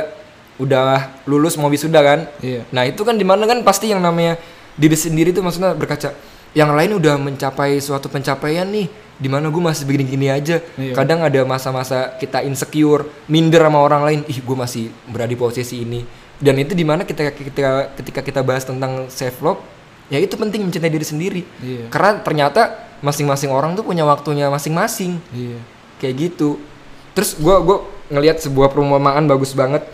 S1: udah lulus mau wisuda kan
S2: Iya.
S1: Nah itu kan dimana kan pasti yang namanya diri sendiri itu maksudnya berkaca. Yang lain udah mencapai suatu pencapaian nih, dimana gue masih begini-gini aja.
S2: Iya.
S1: Kadang ada masa-masa kita insecure, minder sama orang lain. Ih gue masih berada di posisi ini. Dan itu dimana kita ketika ketika kita bahas tentang self love, ya itu penting mencintai diri sendiri.
S2: Iya.
S1: Karena ternyata masing-masing orang tuh punya waktunya masing-masing
S2: Iya.
S1: kayak gitu terus gue gua ngelihat sebuah perumpamaan bagus banget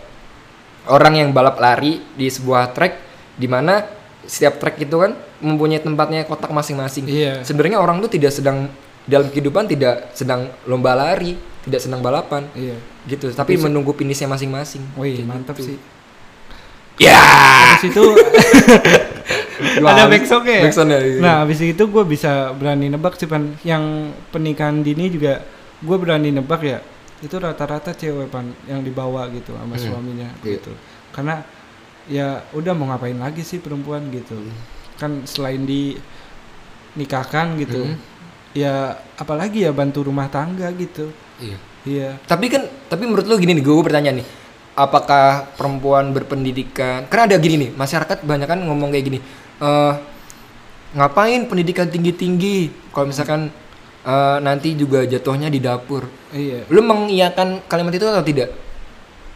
S1: orang yang balap lari di sebuah track di mana setiap track itu kan mempunyai tempatnya kotak masing-masing
S2: Iya.
S1: sebenarnya orang tuh tidak sedang dalam kehidupan tidak sedang lomba lari tidak sedang balapan
S2: Iya.
S1: gitu tapi menunggu finishnya masing-masing gitu.
S2: Wih, mantap sih.
S1: ya
S2: Habis itu Ada backsound-nya ya?
S1: iya.
S2: Nah, habis itu gue bisa berani nebak sih, Pan. Yang pernikahan dini juga gue berani nebak ya. Itu rata-rata cewek, Pan, yang dibawa gitu sama
S1: Hmm.
S2: suaminya
S1: Iya.
S2: gitu. Karena ya udah mau ngapain lagi sih perempuan gitu.
S1: Hmm.
S2: Kan selain di nikahkan gitu.
S1: Hmm.
S2: Ya apalagi ya bantu rumah tangga gitu. Iya.
S1: Tapi kan, tapi menurut lu gini nih, gue bertanya nih, apakah perempuan berpendidikan? Karena ada gini nih, masyarakat banyak kan ngomong kayak gini, eh ngapain pendidikan tinggi-tinggi? Kalau misalkan eh, nanti juga jatuhnya di dapur,
S2: Iya.
S1: lu mengiyakan kalimat itu atau tidak?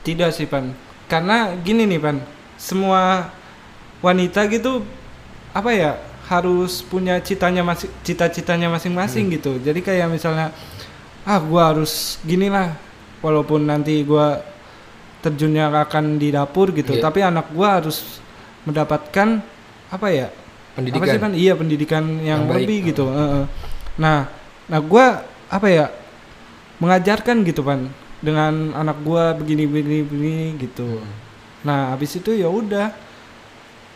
S2: Tidak sih Pan, karena gini nih Pan, semua wanita gitu apa ya harus punya citanya masing cita-citanya masing-masing gitu. Jadi kayak misalnya ah gua harus gini lah, walaupun nanti gua terjunnya akan di dapur gitu,
S1: Iya.
S2: tapi anak gua harus mendapatkan apa ya apa sih
S1: Pendidikan.
S2: Pan? Iya pendidikan yang,
S1: Yang baik.
S2: lebih gitu. Heeh. Nah, nah gue apa ya mengajarkan gitu pan dengan anak gue begini begini begini gitu. Nah habis itu ya udah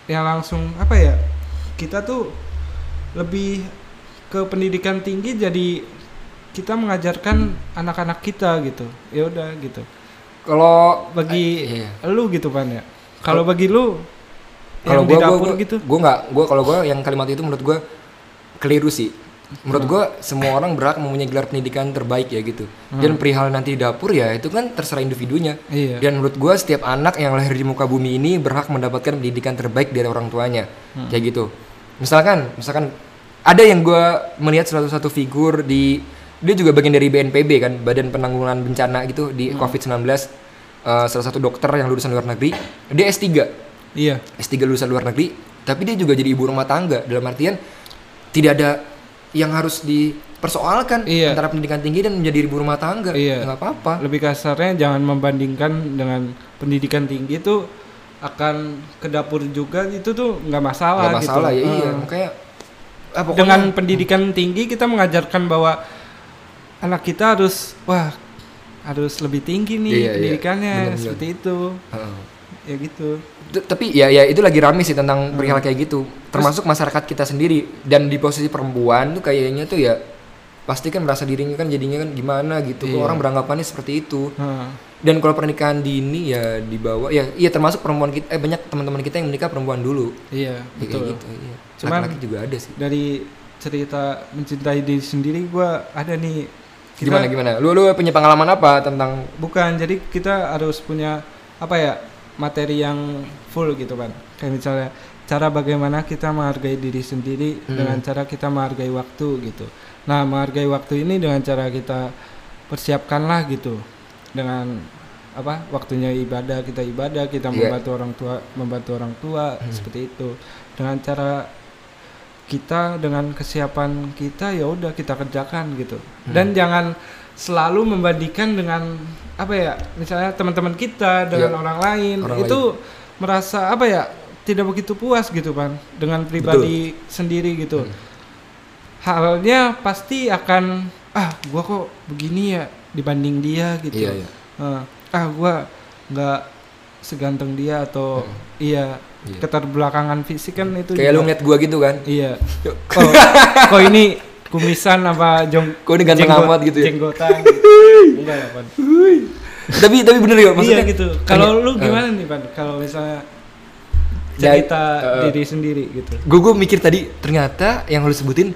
S2: yang langsung apa ya kita tuh lebih ke pendidikan tinggi jadi kita mengajarkan anak-anak kita gitu. Ya udah gitu.
S1: Kalau
S2: Bagi
S1: iya.
S2: lu gitu pan ya. Kalau bagi lu
S1: kalau
S2: yang di
S1: gue
S2: dapur gitu.
S1: gue nggak gue kalau gue yang kalimat itu menurut gue keliru sih menurut gua
S2: Hmm.
S1: semua orang berhak mempunyai gelar pendidikan terbaik ya gitu dan perihal nanti dapur ya itu kan terserah individunya
S2: Iya.
S1: dan menurut gua setiap anak yang lahir di muka bumi ini berhak mendapatkan pendidikan terbaik dari orang tuanya
S2: Hmm.
S1: kayak gitu misalkan misalkan ada yang gua melihat salah satu figur di dia juga bagian dari BNPB kan Badan Penanggulangan Bencana gitu di
S2: Hmm.
S1: COVID-19 eh, salah satu dokter yang lulusan luar negeri dia S3
S2: Iya.
S1: S3 lulusan luar negeri, tapi dia juga jadi ibu rumah tangga dalam artian tidak ada yang harus dipersoalkan
S2: Iya.
S1: antara pendidikan tinggi dan menjadi ibu rumah tangga.
S2: Iya.
S1: Nggak apa-apa.
S2: Lebih kasarnya jangan membandingkan dengan pendidikan tinggi itu akan ke dapur juga itu tuh nggak masalah.
S1: Nggak masalah ya
S2: gitu.
S1: iya.
S2: Eh.
S1: Makanya ah, pokoknya
S2: dengan pendidikan tinggi kita mengajarkan bahwa anak kita harus wah harus lebih tinggi nih
S1: Iya, iya.
S2: pendidikannya
S1: Benar-benar.
S2: seperti itu
S1: Heeh.
S2: ya gitu
S1: T- tapi ya ya itu lagi rame sih
S2: Hmm.
S1: tentang perihal kayak gitu. Termasuk masyarakat kita sendiri dan di posisi perempuan tuh kayaknya tuh ya pasti kan merasa dirinya kan jadinya kan gimana gitu. Kok
S2: Iya.
S1: Orang beranggapannya seperti itu.
S2: Heeh.
S1: Dan kalau pernikahan dini ya di bawah ya iya termasuk perempuan kita eh banyak teman-teman kita yang menikah perempuan dulu.
S2: iya
S1: Ya,
S2: betul
S1: Kayak gitu, iya.
S2: Cuman-
S1: Laki-laki juga ada sih.
S2: dari cerita mencintai diri sendiri gua ada nih kita
S1: Gimana gimana? Lu lu punya pengalaman apa tentang
S2: bukan jadi kita harus punya apa ya materi yang full gitu kan kayak misalnya cara bagaimana kita menghargai diri sendiri dengan cara kita menghargai waktu gitu nah menghargai waktu ini dengan cara kita persiapkanlah gitu dengan apa waktunya ibadah kita ibadah kita
S1: Iya.
S2: membantu orang tua membantu orang tua seperti itu dengan cara kita dengan kesiapan kita ya udah kita kerjakan gitu
S1: Hmm.
S2: dan jangan selalu membandingkan dengan apa ya misalnya teman-teman kita dengan
S1: Iya.
S2: orang lain
S1: Orang
S2: itu merasa apa ya tidak begitu puas gitu kan dengan pribadi sendiri gitu
S1: Hmm.
S2: halnya pasti akan ah gua kok begini ya dibanding dia gitu
S1: Iya, iya.
S2: Eh, ah gua nggak seganteng dia atau iya
S1: Hmm. Iya.
S2: keterbelakangan fisik kan itu
S1: kayak
S2: juga-
S1: lu ngeliat gua gitu kan?
S2: Iya. Oh, kok ini kumisan apa jong
S1: Kok ini ganteng
S2: jenggot-
S1: amat gitu ya?
S2: Jenggotan. Enggak lah, Pan.
S1: tapi tapi bener ya
S2: Iya
S1: maksudnya
S2: gitu. Kalau
S1: kayak-
S2: lu
S1: eh.
S2: gimana nih, Pan? Kalau misalnya
S1: Dari-
S2: cerita
S1: eh.
S2: diri sendiri gitu.
S1: Gue gue mikir tadi ternyata yang lu sebutin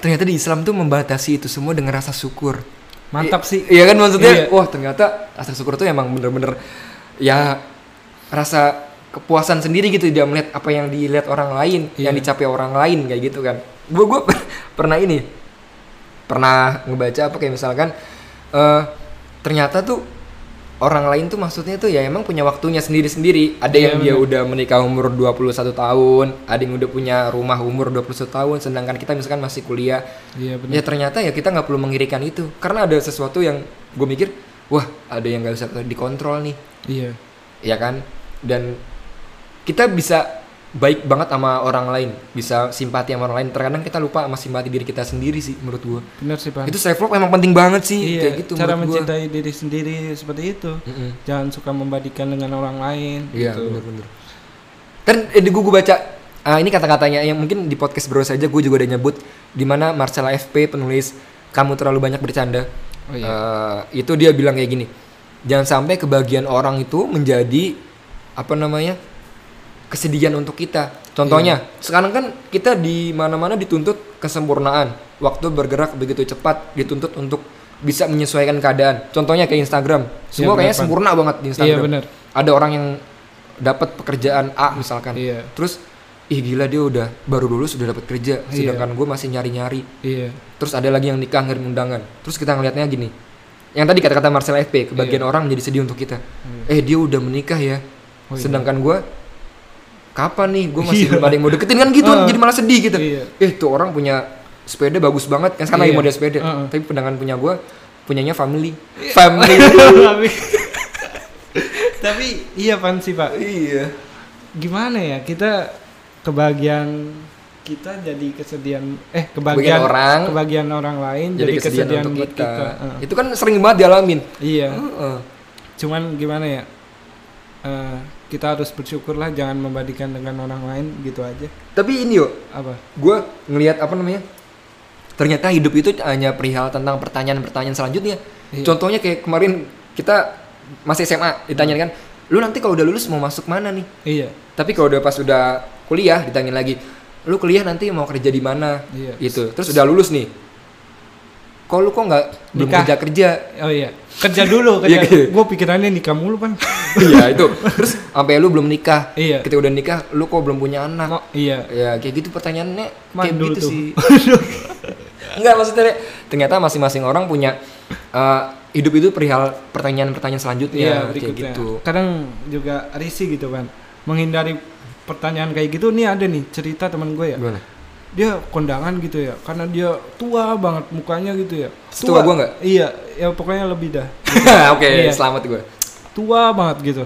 S1: ternyata di Islam tuh membatasi itu semua dengan rasa syukur.
S2: Mantap
S1: I-
S2: sih.
S1: Iya kan maksudnya,
S2: Iya.
S1: wah ternyata rasa syukur tuh emang bener-bener ya rasa kepuasan sendiri gitu tidak melihat apa yang dilihat orang lain,
S2: Iya.
S1: yang dicapai orang lain kayak gitu kan. Gue gue pernah ini pernah ngebaca apa kayak misalkan eh ternyata tuh orang lain tuh maksudnya tuh ya emang punya waktunya sendiri-sendiri. Ada
S2: Iya,
S1: yang dia udah menikah umur 21 tahun, ada yang udah punya rumah umur 21 tahun sedangkan kita misalkan masih kuliah.
S2: Iya benar.
S1: Ya ternyata ya kita nggak perlu mengirikan itu karena ada sesuatu yang gue mikir, wah ada yang nggak bisa dikontrol nih,
S2: Iya.
S1: ya kan? Dan kita bisa baik banget sama orang lain, bisa simpati sama orang lain. Terkadang kita lupa sama simpati diri kita sendiri sih menurut gue.
S2: Benar sih, Pan.
S1: Itu self love emang penting banget sih
S2: iya,
S1: kayak gitu
S2: cara
S1: menurut gue.
S2: mencintai diri sendiri seperti itu. Jangan suka membandingkan dengan orang lain
S1: Iya
S2: gitu.
S1: bener-bener. Kan eh, gue baca ah, ini kata-katanya yang mungkin di podcast bro saja gue juga udah nyebut di mana Marcella FP penulis kamu terlalu banyak bercanda.
S2: Oh, iya.
S1: Eh, itu dia bilang kayak gini. Jangan sampai kebahagiaan orang itu menjadi apa namanya? kesedihan untuk kita. Contohnya,
S2: Iya.
S1: sekarang kan kita di mana-mana dituntut kesempurnaan. Waktu bergerak begitu cepat, dituntut untuk bisa menyesuaikan keadaan. Contohnya kayak Instagram. Semua
S2: benar,
S1: kayaknya
S2: Pan.
S1: sempurna banget di Instagram.
S2: Iya, benar.
S1: Ada orang yang dapat pekerjaan A misalkan.
S2: Iya.
S1: Terus ih gila dia udah baru lulus sudah dapat kerja, sedangkan gue masih nyari-nyari.
S2: Iya.
S1: Terus ada lagi yang nikah ngirim undangan. Terus kita ngelihatnya gini. Yang tadi kata-kata Marcel FP,
S2: Iya.
S1: kebagian orang menjadi sedih untuk kita.
S2: Hmm.
S1: Eh dia udah menikah ya.
S2: Oh, iya.
S1: Sedangkan gue kapan nih gue masih belum ada yang mau deketin kan gitu jadi malah sedih gitu.
S2: Ah. Iya.
S1: Eh tuh orang punya sepeda bagus banget kan sekarang lagi
S2: Iya.
S1: model sepeda.
S2: Heeh.
S1: Tapi pendangan punya gue punyanya family.
S2: Iya.
S1: Family.
S2: tapi tapi iya pan sih pak
S1: iya.
S2: gimana ya kita kebahagiaan kita jadi kesedihan eh
S1: Kebagian
S2: kebahagiaan
S1: orang
S2: kebahagiaan orang lain
S1: jadi kesedihan, untuk
S2: buat
S1: kita.
S2: Heeh.
S1: Itu kan sering banget dialamin.
S2: iya
S1: Heeh.
S2: cuman gimana ya Eh, kita harus bersyukurlah jangan membandingkan dengan orang lain gitu aja
S1: Tapi ini yuk
S2: apa
S1: gue ngelihat apa namanya ternyata hidup itu hanya perihal tentang pertanyaan-pertanyaan selanjutnya
S2: Iya.
S1: contohnya kayak kemarin kita masih SMA ditanyain kan lu nanti kalau udah lulus mau masuk mana nih
S2: iya
S1: tapi kalau udah pas udah kuliah ditanyain lagi lu kuliah nanti mau kerja di mana
S2: Iya.
S1: gitu terus udah lulus nih kok lu kok nggak belum
S2: Nikah.
S1: kerja kerja
S2: Oh iya, kerja dulu
S1: Iya,
S2: kerja.
S1: gitu.
S2: Gue pikirannya nikah mulu bang.
S1: iya itu terus sampai lu belum nikah
S2: Iya.
S1: ketika udah nikah lu kok belum punya anak
S2: Mo- iya.
S1: ya kayak gitu pertanyaannya kayak
S2: Mandul
S1: gitu
S2: tuh.
S1: sih nggak maksudnya Rek. ternyata masing-masing orang punya eh, hidup itu perihal pertanyaan-pertanyaan
S2: Iya
S1: selanjutnya kayak
S2: berikutnya.
S1: gitu
S2: Kadang juga risih gitu kan. Menghindari pertanyaan kayak gitu nih ada nih cerita teman gue ya.
S1: gimana
S2: Dia kondangan gitu ya, karena dia tua banget mukanya gitu ya.
S1: Setua gua nggak?
S2: Iya, ya pokoknya lebih dah.
S1: oke
S2: Iya.
S1: selamat gue
S2: Tua banget gitu.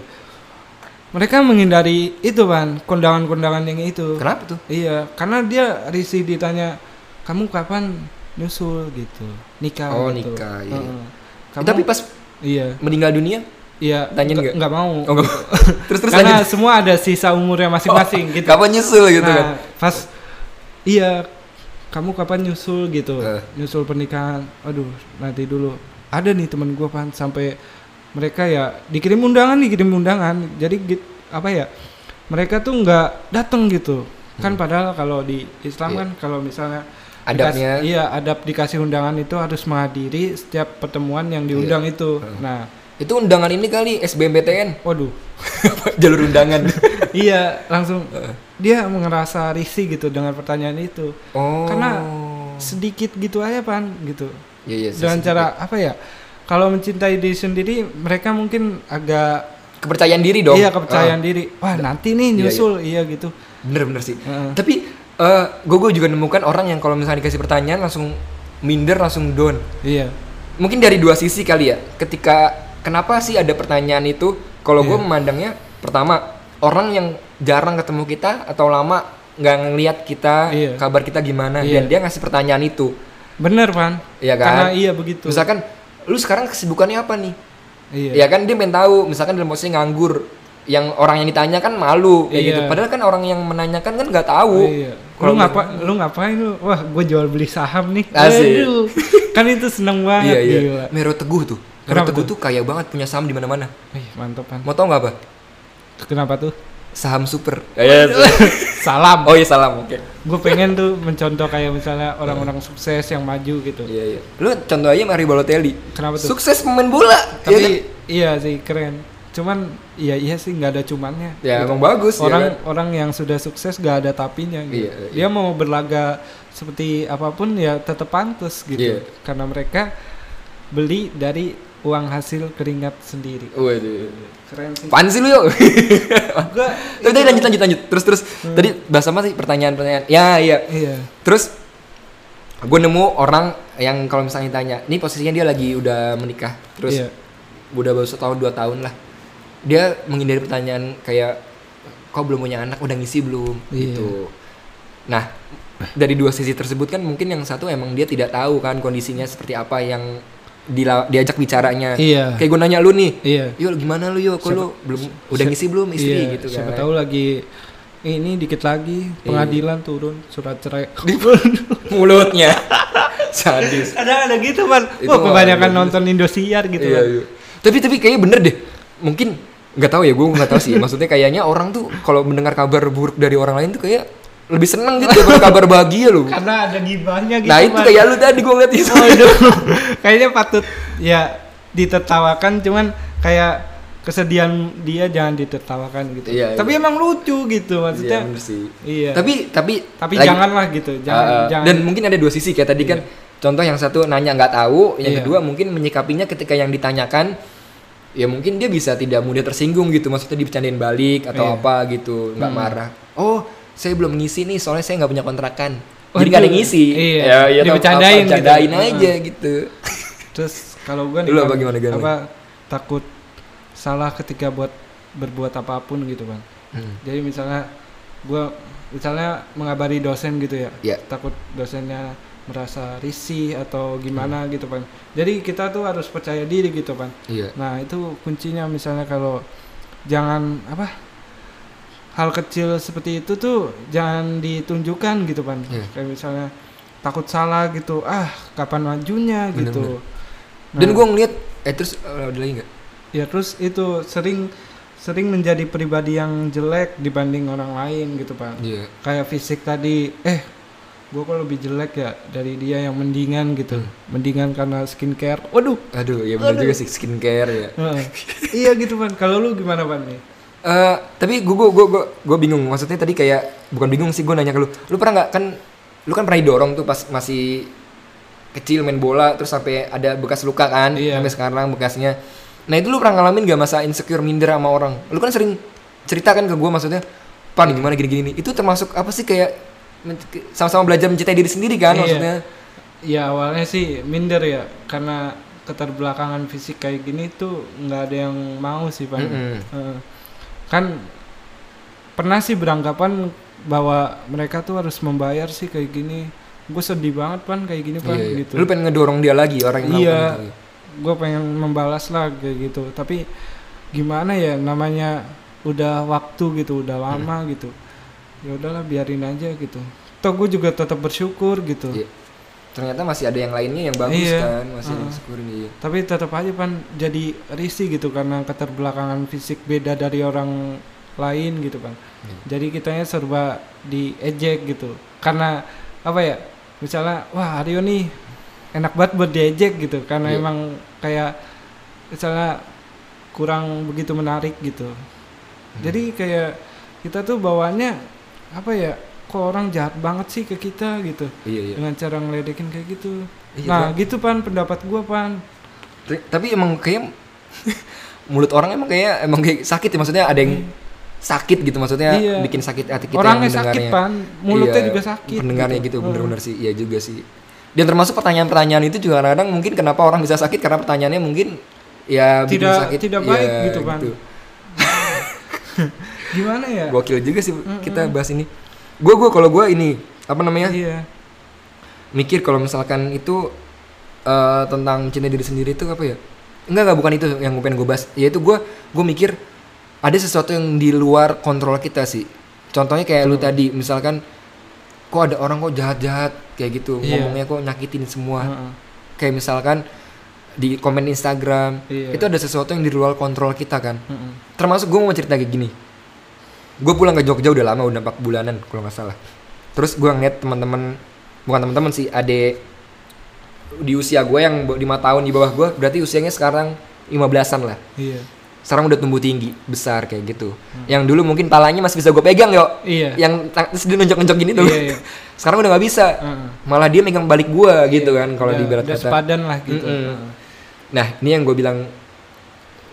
S2: Mereka menghindari itu kan kondangan-kondangan yang itu.
S1: kenapa tuh
S2: Iya, karena dia risih ditanya, kamu kapan nyusul gitu, nikah.
S1: Oh,
S2: gitu.
S1: nikah, iya.
S2: Heeh.
S1: Eh,
S2: Kamu,
S1: tapi pas
S2: iya,
S1: meninggal dunia
S2: iya.
S1: Tanyain nggak?
S2: nggak- nggak mau.
S1: oh, nggak- terus terus
S2: karena
S1: lanjut. Oh,
S2: semua ada sisa umurnya masing-masing gitu.
S1: gitu. kapan nyusul gitu
S2: nah,
S1: kan
S2: pas iya, kamu kapan nyusul gitu,
S1: Eh.
S2: nyusul pernikahan. Aduh, nanti dulu. Ada nih teman gua pan sampai mereka ya dikirim undangan, dikirim undangan. Jadi git- apa ya? Mereka tuh nggak datang gitu. Kan padahal kalau di
S1: Hmm.
S2: Islam
S1: Iya.
S2: kan kalau misalnya
S1: adabnya
S2: Dikas- iya, adab dikasih undangan itu harus menghadiri setiap pertemuan yang diundang
S1: Iya.
S2: itu. Nah,
S1: itu undangan ini kali SBMPTN
S2: waduh.
S1: jalur undangan
S2: iya, langsung dia ngerasa risih gitu dengan pertanyaan itu.
S1: oh
S2: Karena- Sedikit gitu aja, Pan, gitu.
S1: Iya, iya,
S2: Dengan
S1: sih.
S2: cara apa ya? Kalau mencintai diri sendiri, mereka mungkin agak
S1: kepercayaan diri dong Ah.
S2: iya kepercayaan diri. Wah, nanti nih
S1: Iya,
S2: nyusul iya, gitu.
S1: bener-bener sih
S2: Heeh.
S1: tapi gue juga nemukan orang yang kalau misalnya dikasih pertanyaan langsung minder langsung down
S2: Iya.
S1: mungkin dari dua sisi kali ya ketika kenapa sih ada pertanyaan itu kalau gue
S2: Iya.
S1: memandangnya pertama orang yang jarang ketemu kita atau lama nggak ngelihat kita
S2: Iya.
S1: kabar kita gimana dan
S2: Iya.
S1: dia ngasih pertanyaan itu
S2: Bener, Pan.
S1: Iya kan?
S2: Karena iya begitu.
S1: misalkan lu sekarang kesibukannya apa nih
S2: iya.
S1: ya kan dia pengen tahu misalkan dalam posisi nganggur yang orang yang ditanya kan malu kayak
S2: Iya.
S1: gitu padahal kan orang yang menanyakan kan nggak tahu
S2: Iya.
S1: Kalau
S2: Lu ngapa lu ngapain lu? Wah, gue jual beli saham nih.
S1: Asik.
S2: Aduh. kan itu seneng banget
S1: iya iya
S2: gila.
S1: Mero Teguh tuh Mero
S2: Kenapa
S1: Teguh tuh kaya banget punya saham di mana-mana
S2: Wih, mantep kan.
S1: mau tau nggak apa
S2: Kenapa tuh?
S1: saham super
S2: Salam.
S1: oh iya salam Ya, oke
S2: Gue pengen tuh mencontoh kayak misalnya orang-orang sukses yang maju gitu.
S1: Iya iya. Lu contoh aja Mario Balotelli.
S2: Kenapa tuh?
S1: Sukses pemain bola.
S2: Tapi
S1: ya, kan?
S2: iya sih keren. Cuman iya iya sih nggak ada cumannya.
S1: ya emang bagus ya
S2: gitu. orang
S1: kan?
S2: orang yang sudah sukses gak ada tapinya gitu.
S1: Iya, iya.
S2: Dia mau berlaga seperti apapun ya tetap pantas gitu.
S1: Iya.
S2: Karena mereka beli dari uang hasil keringat sendiri.
S1: Waduh.
S2: Keren sih.
S1: Apaan sih lu yuk?
S2: Gua
S1: Tapi tadi lanjut lanjut lanjut. Terus terus
S2: Hmm.
S1: tadi bahas apa sih pertanyaan-pertanyaan? Ya iya.
S2: iya.
S1: Terus gue nemu orang yang kalau misalnya tanya, nih posisinya dia lagi udah menikah, terus
S2: Iya.
S1: udah baru setahun dua tahun lah, dia menghindari pertanyaan kayak, kok belum punya anak, udah ngisi belum,
S2: Iya.
S1: gitu. Nah dari dua sisi tersebut kan mungkin yang satu emang dia tidak tahu kan kondisinya seperti apa yang dila- diajak bicaranya.
S2: Iya.
S1: Kayak gue nanya lu nih,
S2: Iya.
S1: yuk gimana lu yuk, kok
S2: Siapa-
S1: lu belum udah
S2: siapa-
S1: ngisi belum istri
S2: Iya,
S1: gitu kan?
S2: Siapa
S1: Iya.
S2: tahu lagi ini dikit lagi pengadilan turun surat cerai.
S1: Mulutnya sadis.
S2: ada ada gitu kan.
S1: Itu
S2: Wah, kebanyakan
S1: ada.
S2: nonton Indosiar gitu
S1: Iya,
S2: kan.
S1: iya. Tapi tapi kayaknya bener deh. Mungkin nggak tahu ya, gue nggak tahu sih. Maksudnya kayaknya orang tuh kalau mendengar kabar buruk dari orang lain tuh kayak lebih seneng gitu daripada kabar bahagia loh.
S2: Karena ada gibahnya gitu.
S1: Nah itu
S2: Pan.
S1: kayak lu tadi gue ngeliat itu.
S2: Waduh, kayaknya patut ya ditertawakan cuman kayak kesedihan dia jangan ditertawakan gitu.
S1: Iya, iya.
S2: Tapi emang lucu gitu
S1: Iya,
S2: maksudnya.
S1: bener sih.
S2: Iya. Tapi,
S1: Tapi tapi lagi-
S2: janganlah gitu, jangan
S1: Uh,
S2: jangan.
S1: Dan mungkin ada dua sisi kayak tadi kan. Contoh yang satu nanya nggak tahu, yang
S2: Iya.
S1: kedua mungkin menyikapinya ketika yang ditanyakan ya mungkin dia bisa tidak mudah tersinggung gitu maksudnya dibicarain balik atau
S2: Iya. Hmm.
S1: apa gitu nggak marah oh saya belum ngisi nih soalnya saya nggak punya kontrakan jadi nggak ada yang ngisi
S2: Iya.
S1: atau
S2: Dibercandain
S1: apa,
S2: gitu.
S1: bercandain
S2: Heeh.
S1: aja gitu
S2: Terus kalau gua nih
S1: Lu
S2: Bang,
S1: apa gimana, gimana?
S2: apa, takut salah ketika buat berbuat apapun gitu, Bang. Jadi misalnya gua misalnya mengabari dosen gitu ya.
S1: Iya.
S2: Takut dosennya merasa risih atau gimana gitu, Bang. Jadi kita tuh harus percaya diri gitu, Bang.
S1: iya
S2: Nah itu kuncinya misalnya kalau jangan apa hal kecil seperti itu tuh jangan ditunjukkan gitu pan.
S1: Iya.
S2: Kayak misalnya takut salah gitu, ah kapan majunya
S1: Bener,
S2: gitu.
S1: dan
S2: Nah,
S1: gue ngeliat eh terus eh, ada lagi nggak
S2: ya terus itu sering sering menjadi pribadi yang jelek dibanding orang lain gitu pak
S1: Iya.
S2: kayak fisik tadi eh gue kok lebih jelek ya dari dia yang mendingan gitu
S1: Hmm.
S2: mendingan karena skincare waduh
S1: Aduh, ya benar juga sih skincare ya.
S2: Heeh. iya gitu pan kalau lu gimana pan nih
S1: Eh, tapi gue gue gue gue bingung. Maksudnya tadi kayak bukan bingung sih gue nanya ke lu. Lu pernah nggak kan? Lu kan pernah didorong tuh pas masih kecil main bola terus sampai ada bekas luka kan
S2: Iya.
S1: sampai sekarang bekasnya. Nah itu lu pernah ngalamin gak masa insecure minder sama orang? Lu kan sering cerita kan ke gue maksudnya, pan gimana gini-gini. Itu termasuk apa sih kayak men- ke- sama-sama belajar mencintai diri sendiri kan
S2: Iya.
S1: maksudnya?
S2: ya awalnya sih minder ya karena keterbelakangan fisik kayak gini tuh nggak ada yang mau sih pan
S1: Mm-mm.
S2: Heeh. kan pernah sih beranggapan bahwa mereka tuh harus membayar sih kayak gini gue sedih banget pan kayak gini pan
S1: Iya, iya.
S2: gitu
S1: Lu pengen ngedorong dia lagi orang yang gitu.
S2: Iya.
S1: melakukan itu.
S2: gue pengen membalas lah kayak gitu tapi gimana ya namanya udah waktu gitu udah
S1: Hmm.
S2: lama gitu ya udahlah biarin aja gitu toh gue juga tetap bersyukur gitu
S1: Iya. Ternyata masih ada yang lainnya yang bagus
S2: Iya.
S1: kan, masih ada yang
S2: Heeh.
S1: syukurin iya.
S2: tapi tetap aja pan jadi risih gitu karena keterbelakangan fisik beda dari orang lain gitu pan
S1: Iya.
S2: jadi kitanya serba diejek gitu karena apa ya misalnya wah Aryo nih enak banget buat diejek gitu
S1: Iya.
S2: karena emang kayak misalnya kurang begitu menarik gitu
S1: Hmm.
S2: jadi kayak kita tuh bawaannya apa ya kok orang jahat banget sih ke kita gitu
S1: Iya iya.
S2: dengan cara ngeledekin kayak gitu
S1: Iya,
S2: nah gitu pan pendapat gua pan
S1: Tri- Tapi emang kayak mulut orang emang kayak emang kayak sakit ya maksudnya ada yang sakit gitu maksudnya
S2: Iya.
S1: bikin sakit hati kita
S2: orangnya
S1: yang
S2: sakit
S1: mendengarnya.
S2: pan mulutnya
S1: Iya,
S2: juga sakit
S1: Pendengarnya gitu, bener-bener sih. Iya juga sih. Dan termasuk pertanyaan-pertanyaan itu juga kadang mungkin kenapa orang bisa sakit karena pertanyaannya mungkin ya bikin
S2: Tidak-
S1: sakit.
S2: tidak
S1: Iya,
S2: baik gitu, Pan. gimana ya
S1: Gokil juga sih kita bahas ini. Gue gue kalau gue ini apa namanya?
S2: iya
S1: mikir kalau misalkan itu eh, tentang cinta diri sendiri itu apa ya enggak enggak bukan itu yang gue pengen gue bahas yaitu gue gue mikir ada sesuatu yang di luar kontrol kita sih contohnya kayak
S2: Hmm.
S1: lu tadi misalkan kok ada orang kok jahat jahat kayak gitu
S2: Iya. Hmm.
S1: ngomongnya kok nyakitin semua
S2: Heeh.
S1: kayak misalkan di komen Instagram
S2: Iya.
S1: itu ada sesuatu yang di luar kontrol kita kan
S2: Heeh.
S1: termasuk gue mau cerita kayak gini gue pulang ke Jogja udah lama udah 4 bulanan kalau nggak salah terus gue ngeliat teman-teman bukan teman-teman sih ade di usia gue yang 5 tahun di bawah gue berarti usianya sekarang 15-an lah
S2: iya
S1: sekarang udah tumbuh tinggi besar kayak gitu yang dulu mungkin talanya masih bisa gue pegang yo
S2: Hmm. iya
S1: yang ta- terus dia nonjok-nonjok gini dulu
S2: Iya, iya.
S1: sekarang udah nggak bisa
S2: Heeh.
S1: malah dia megang balik gue gitu kan kalau
S2: Udah-
S1: di barat
S2: Iya. udah
S1: kata
S2: sepadan lah gitu
S1: Mm-mm.
S2: Heeh.
S1: Nah, ini yang gue bilang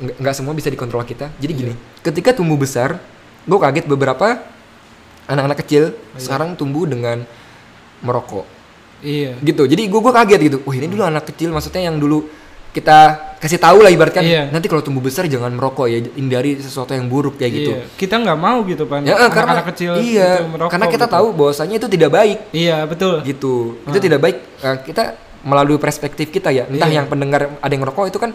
S1: nggak nggak semua bisa dikontrol kita. Jadi gini, ketika tumbuh besar, gue kaget beberapa anak-anak kecil
S2: Oh,
S1: sekarang tumbuh dengan merokok.
S2: iya
S1: Gitu. Jadi gue gue kaget gitu. Wah, ini
S2: Mm.
S1: dulu anak kecil maksudnya yang dulu kita kasih tahu lah ibaratkan
S2: Iya.
S1: nanti kalau tumbuh besar jangan merokok ya, hindari sesuatu yang buruk kayak gitu.
S2: Iya. kita nggak mau gitu pan
S1: Ya, eh, karena
S2: anak kecil
S1: iya,
S2: itu merokok
S1: karena kita
S2: gitu.
S1: tahu bahwasannya itu tidak baik
S2: iya betul
S1: gitu itu tidak baik Eh, kita melalui perspektif kita ya entah
S2: Ah. Iya.
S1: yang pendengar ada yang ngerokok itu kan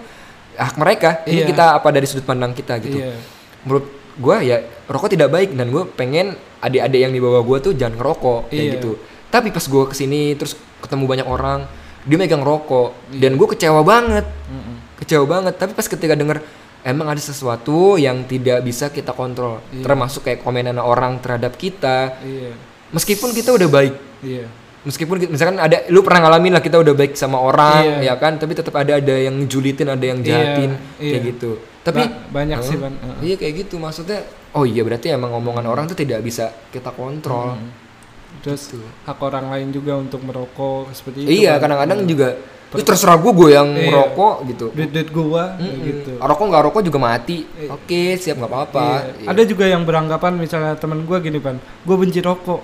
S1: hak mereka ini
S2: Iya.
S1: kita apa dari sudut pandang kita gitu
S2: iya
S1: menurut gue ya rokok tidak baik dan gue pengen adik-adik yang di bawah gue tuh jangan ngerokok kayak
S2: Iya.
S1: gitu tapi pas gue kesini terus ketemu banyak orang dia megang rokok dan gue kecewa banget
S2: Iya. Mm-mm.
S1: kecewa banget tapi pas ketika denger emang ada sesuatu yang tidak bisa kita kontrol
S2: Iya.
S1: termasuk kayak komenan orang terhadap kita
S2: iya
S1: meskipun kita udah baik
S2: iya
S1: meskipun ki- misalkan ada lu pernah ngalamin lah kita udah baik sama orang
S2: Iya.
S1: ya kan tapi tetap ada ada yang julitin ada yang
S2: Iya,
S1: jahatin kayak
S2: iya.
S1: gitu tapi
S2: Ba- banyak sih
S1: Heeh.
S2: pan Heeh.
S1: iya kayak gitu maksudnya oh iya berarti emang omongan orang tuh tidak bisa kita kontrol
S2: Hmm, terus
S1: Gitu.
S2: hak orang lain juga untuk merokok seperti itu
S1: iya
S2: Pan.
S1: kadang-kadang juga terus terserah gue gue yang
S2: kan. Iya.
S1: merokok gitu
S2: duit duit gua kayak
S1: Mm-mm.
S2: gitu
S1: rokok nggak rokok juga mati
S2: Iya.
S1: oke siap nggak apa-apa
S2: Iya.
S1: Iya.
S2: Ada juga yang beranggapan misalnya teman gue gini pan, gue benci rokok,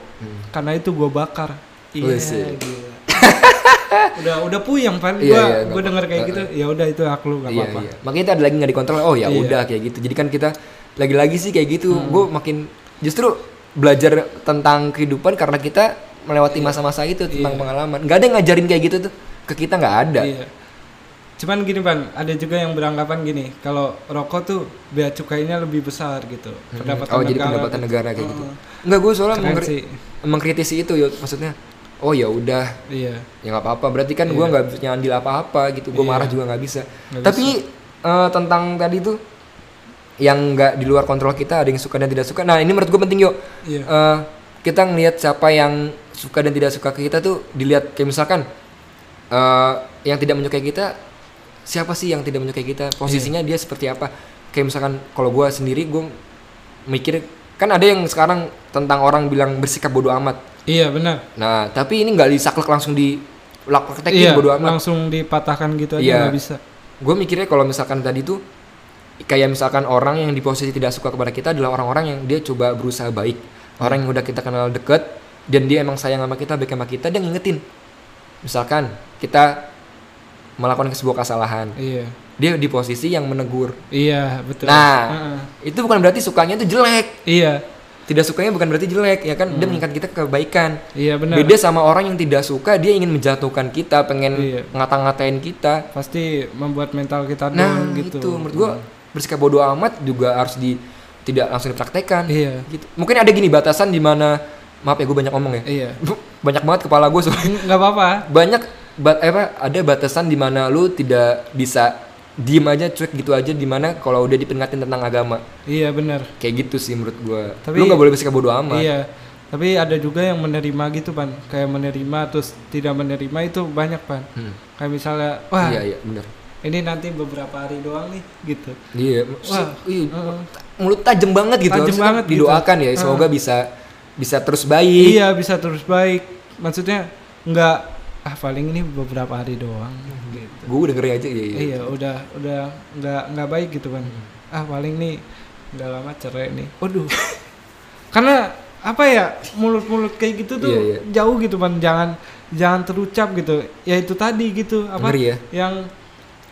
S2: karena itu gue bakar.
S1: Hmm.
S2: Iya,
S1: Wih, sih.
S2: gila. udah udah puyeng pan, gue
S1: Iya, iya, nggak
S2: denger kayak gitu, ya udah itu hak lu nggak
S1: Iya,
S2: apa-apa.
S1: iya. Makanya itu ada lagi nggak dikontrol. Oh ya
S2: Iya.
S1: udah kayak gitu. Jadi kan kita lagi-lagi sih kayak gitu. Gue
S2: Hmm.
S1: makin justru belajar tentang kehidupan karena kita melewati
S2: Iya.
S1: masa-masa itu tentang pengalaman. Gak ada yang ngajarin kayak gitu tuh ke kita nggak ada.
S2: Iya. Cuman gini pan, ada juga yang beranggapan gini, kalau rokok tuh bea cukainya lebih besar gitu, pendapatan
S1: oh jadi
S2: negara.
S1: pendapatan negara kayak gitu. Enggak gue soalnya
S2: Keren
S1: mengkri-
S2: sih.
S1: mengkritisi itu Yud. maksudnya. Oh ya udah
S2: Iya.
S1: ya nggak apa-apa berarti kan gua gue nggak bisa nyandil apa-apa gitu gue marah juga Iya. nggak bisa
S2: Nggak
S1: tapi eh, tentang tadi tuh yang nggak di luar kontrol kita ada yang suka dan tidak suka nah ini menurut gue penting yuk
S2: Iya.
S1: Eh, kita ngelihat siapa yang suka dan tidak suka ke kita tuh dilihat kayak misalkan eh, yang tidak menyukai kita siapa sih yang tidak menyukai kita posisinya dia seperti apa kayak misalkan kalau gue sendiri gue mikir kan ada yang sekarang tentang orang bilang bersikap bodoh amat
S2: Iya benar.
S1: nah tapi ini nggak disaklek langsung di praktekin
S2: Iya
S1: bodoh amat
S2: langsung dipatahkan gitu aja
S1: Iya.
S2: nggak bisa.
S1: gue mikirnya kalau misalkan tadi tuh kayak misalkan orang yang di posisi tidak suka kepada kita adalah orang-orang yang dia coba berusaha baik
S2: Iya.
S1: orang yang udah kita kenal deket dan dia emang sayang sama kita baik sama kita dia ngingetin misalkan kita melakukan sebuah kesalahan
S2: Iya.
S1: dia di posisi yang menegur
S2: Iya betul.
S1: Nah.
S2: Heeh.
S1: itu bukan berarti sukanya itu jelek
S2: Iya
S1: tidak sukanya bukan berarti jelek ya kan
S2: Hmm.
S1: dia mengingat kita ke kebaikan
S2: iya benar.
S1: beda sama orang yang tidak suka dia ingin menjatuhkan kita pengen
S2: Iya.
S1: ngata-ngatain kita
S2: Pasti membuat mental kita down
S1: Nah
S2: gitu.
S1: itu menurut gua bersikap bodoh amat juga harus di tidak langsung dipraktekkan.
S2: Iya
S1: Gitu. Mungkin ada gini batasan di mana maaf ya gue banyak ngomong ya.
S2: iya.
S1: banyak banget kepala gue soalnya.
S2: Nggak apa-apa.
S1: Banyak bat, eh, apa, ada batasan di mana lu tidak bisa diem aja cuek gitu aja di mana kalau udah diperingatin tentang agama.
S2: Iya benar.
S1: Kayak gitu sih menurut gua.
S2: Tapi-
S1: lu nggak boleh bersikap bodoh amat.
S2: Iya. Tapi ada juga yang menerima gitu pan. Kayak menerima terus tidak menerima itu banyak pan.
S1: Hmm.
S2: Kayak misalnya wah
S1: Iya iya benar.
S2: ini nanti beberapa hari doang nih gitu.
S1: Iya.
S2: Wah.
S1: Iya,
S2: Heeh.
S1: mulut tajam banget gitu.
S2: Tajam
S1: Harusnya
S2: banget gitu.
S1: Didoakan ya semoga bisa bisa terus baik.
S2: Iya bisa terus baik. Maksudnya nggak ah paling ini beberapa hari doang
S1: Hmm.
S2: gitu.
S1: Gue dengerin aja iya iya.
S2: Iya udah udah nggak nggak baik gitu kan. Ah paling nih nggak lama cerai nih. Waduh. Karena apa ya mulut-mulut kayak gitu tuh
S1: Iya, iya.
S2: jauh gitu kan jangan jangan terucap gitu. Ya itu tadi gitu apa
S1: Ngeri ya.
S2: yang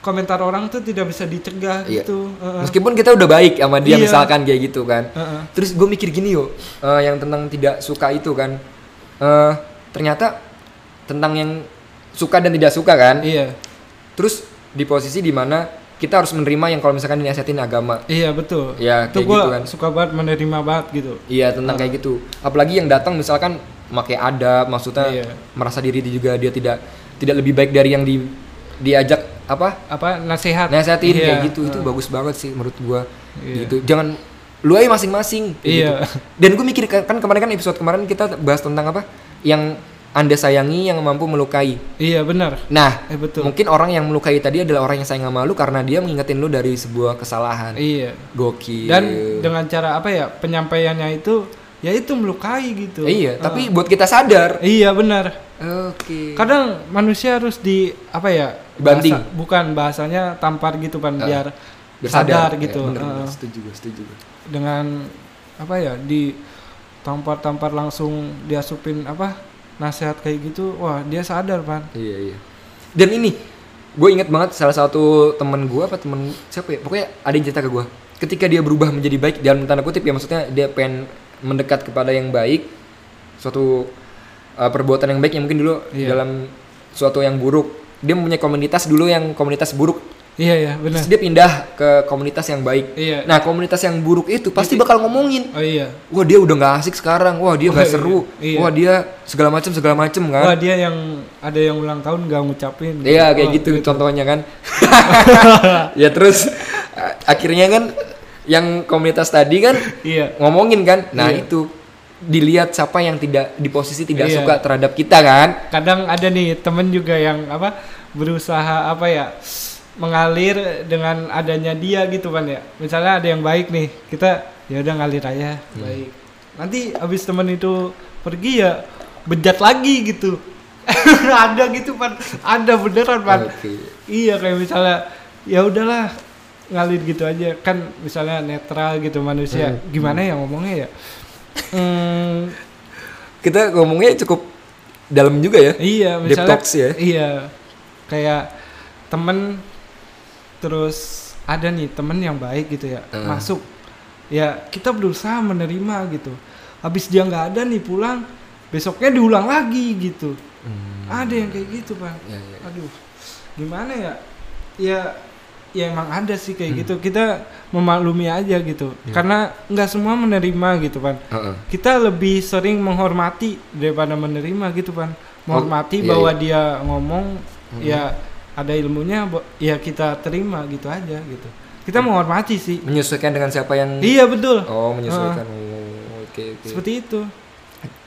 S2: komentar orang tuh tidak bisa dicegah
S1: Iya.
S2: gitu. Heeh.
S1: Meskipun kita udah baik sama dia
S2: Iya.
S1: misalkan kayak gitu kan.
S2: Heeh.
S1: Terus gue mikir gini yo, eh, yang tentang tidak suka itu kan, eh ternyata tentang yang suka dan tidak suka kan.
S2: Iya.
S1: Terus di posisi dimana kita harus menerima yang kalau misalkan dinasihatin agama,
S2: Iya betul.
S1: ya
S2: itu
S1: kayak
S2: gue
S1: gitu kan.
S2: suka banget menerima banget gitu.
S1: Iya tentang kayak gitu. Apalagi yang datang misalkan pakai adab, maksudnya
S2: Iya.
S1: merasa diri dia juga dia tidak tidak lebih baik dari yang di diajak apa
S2: Apa nasihat?
S1: nasehatin
S2: Iya.
S1: kayak gitu itu bagus banget sih menurut gua
S2: Iya.
S1: gitu jangan lu aja masing-masing kayak
S2: Iya.
S1: gitu. dan gue mikir kan kan kemarin kan episode kemarin kita bahas tentang apa yang anda sayangi yang mampu melukai
S2: Iya benar.
S1: nah
S2: Eh betul.
S1: mungkin orang yang melukai tadi adalah orang yang sayang sama lu karena dia mengingetin lu dari sebuah kesalahan
S2: Iya.
S1: gokil
S2: dan dengan cara apa ya penyampaiannya itu ya itu melukai gitu
S1: iya tapi buat kita sadar
S2: iya benar
S1: oke
S2: kadang manusia harus di apa ya
S1: Dibanting.
S2: bahasa- bukan bahasanya tampar gitu pan biar
S1: Eh, Biar
S2: sadar
S1: Ya,
S2: gitu
S1: bener, bener.
S2: Eh,
S1: setuju gua, setuju gua.
S2: dengan apa ya di tampar-tampar langsung diasupin apa nasihat kayak gitu wah dia sadar pan
S1: Iya iya. Dan ini gue inget banget salah satu temen gue apa temen siapa ya pokoknya ada yang cerita ke gue ketika dia berubah menjadi baik dalam tanda kutip ya maksudnya dia pengen mendekat kepada yang baik suatu uh, perbuatan yang baik yang mungkin dulu
S2: Iya.
S1: dalam suatu yang buruk dia mempunyai komunitas dulu yang komunitas buruk
S2: iya ya benar
S1: terus dia pindah ke komunitas yang baik
S2: iya
S1: nah komunitas yang buruk itu pasti bakal ngomongin
S2: oh iya
S1: wah dia udah nggak asik sekarang wah dia nggak
S2: Wah, iya.
S1: seru
S2: Iya.
S1: wah dia segala macem segala macem kan
S2: wah dia yang ada yang ulang tahun gak ngucapin
S1: Iya kayak
S2: Wah,
S1: gitu, contohnya kan. ya terus a- akhirnya kan yang komunitas tadi kan
S2: iya
S1: ngomongin kan. Nah,
S2: Iya.
S1: itu dilihat siapa yang tidak di posisi tidak
S2: Iya.
S1: suka terhadap kita kan.
S2: kadang ada nih temen juga yang apa berusaha apa ya mengalir dengan adanya dia gitu kan ya misalnya ada yang baik nih kita ya udah ngalir aja baik nanti abis temen itu pergi ya bejat lagi gitu ada gitu pan ada beneran pan
S1: Oke.
S2: iya kayak misalnya ya udahlah ngalir gitu aja kan misalnya netral gitu manusia gimana ya ngomongnya ya Hmm,
S1: Kita ngomongnya cukup dalam juga ya.
S2: Iya,
S1: Deep
S2: misalnya
S1: talks ya.
S2: Iya. Kayak temen terus ada nih temen yang baik gitu ya,
S1: Heeh.
S2: masuk. Ya, kita berusaha menerima gitu. Habis dia nggak ada nih pulang, besoknya diulang lagi gitu.
S1: Hmm.
S2: Ada yang kayak gitu, Bang.
S1: Ya, ya.
S2: Aduh. Gimana ya? Ya ya emang ada sih
S1: Hmm.
S2: kayak gitu. Kita memaklumi aja gitu.
S1: Iya.
S2: Karena nggak semua menerima gitu, Bang
S1: Heeh.
S2: kita lebih sering menghormati daripada menerima gitu kan menghormati
S1: iya,
S2: bahwa dia ngomong ya ada ilmunya bo- ya kita terima gitu aja gitu kita menghormati sih
S1: menyesuaikan dengan siapa yang
S2: iya
S1: Mm.
S2: betul
S1: oh menyesuaikan Oh, oke oke
S2: seperti itu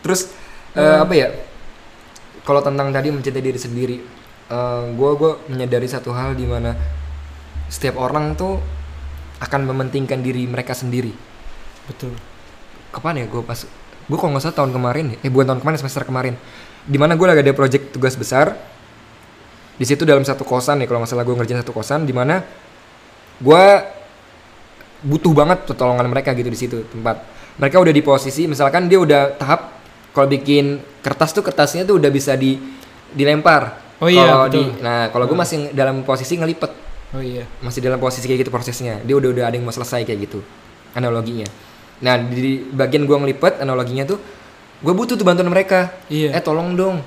S1: terus eh, apa ya kalau tentang tadi mencintai diri sendiri gue gue menyadari satu hal di mana setiap orang tuh akan mementingkan diri mereka sendiri
S2: betul
S1: kapan ya gue pas gue kalau nggak salah tahun kemarin ya eh bukan tahun kemarin semester kemarin di mana gue lagi ada project tugas besar di situ dalam satu kosan ya kalau nggak salah gue ngerjain satu kosan di mana gue butuh banget pertolongan mereka gitu di situ tempat mereka udah di posisi misalkan dia udah tahap kalau bikin kertas tuh kertasnya tuh udah bisa di dilempar
S2: Oh iya,
S1: Kalau
S2: betul. Hmm.
S1: di- nah kalau gue masih dalam posisi ngelipet
S2: oh iya
S1: masih dalam posisi kayak gitu prosesnya dia udah udah ada yang mau selesai kayak gitu analoginya nah di bagian gua ngelipet analoginya tuh gue butuh tuh bantuan mereka
S2: Iya.
S1: eh tolong dong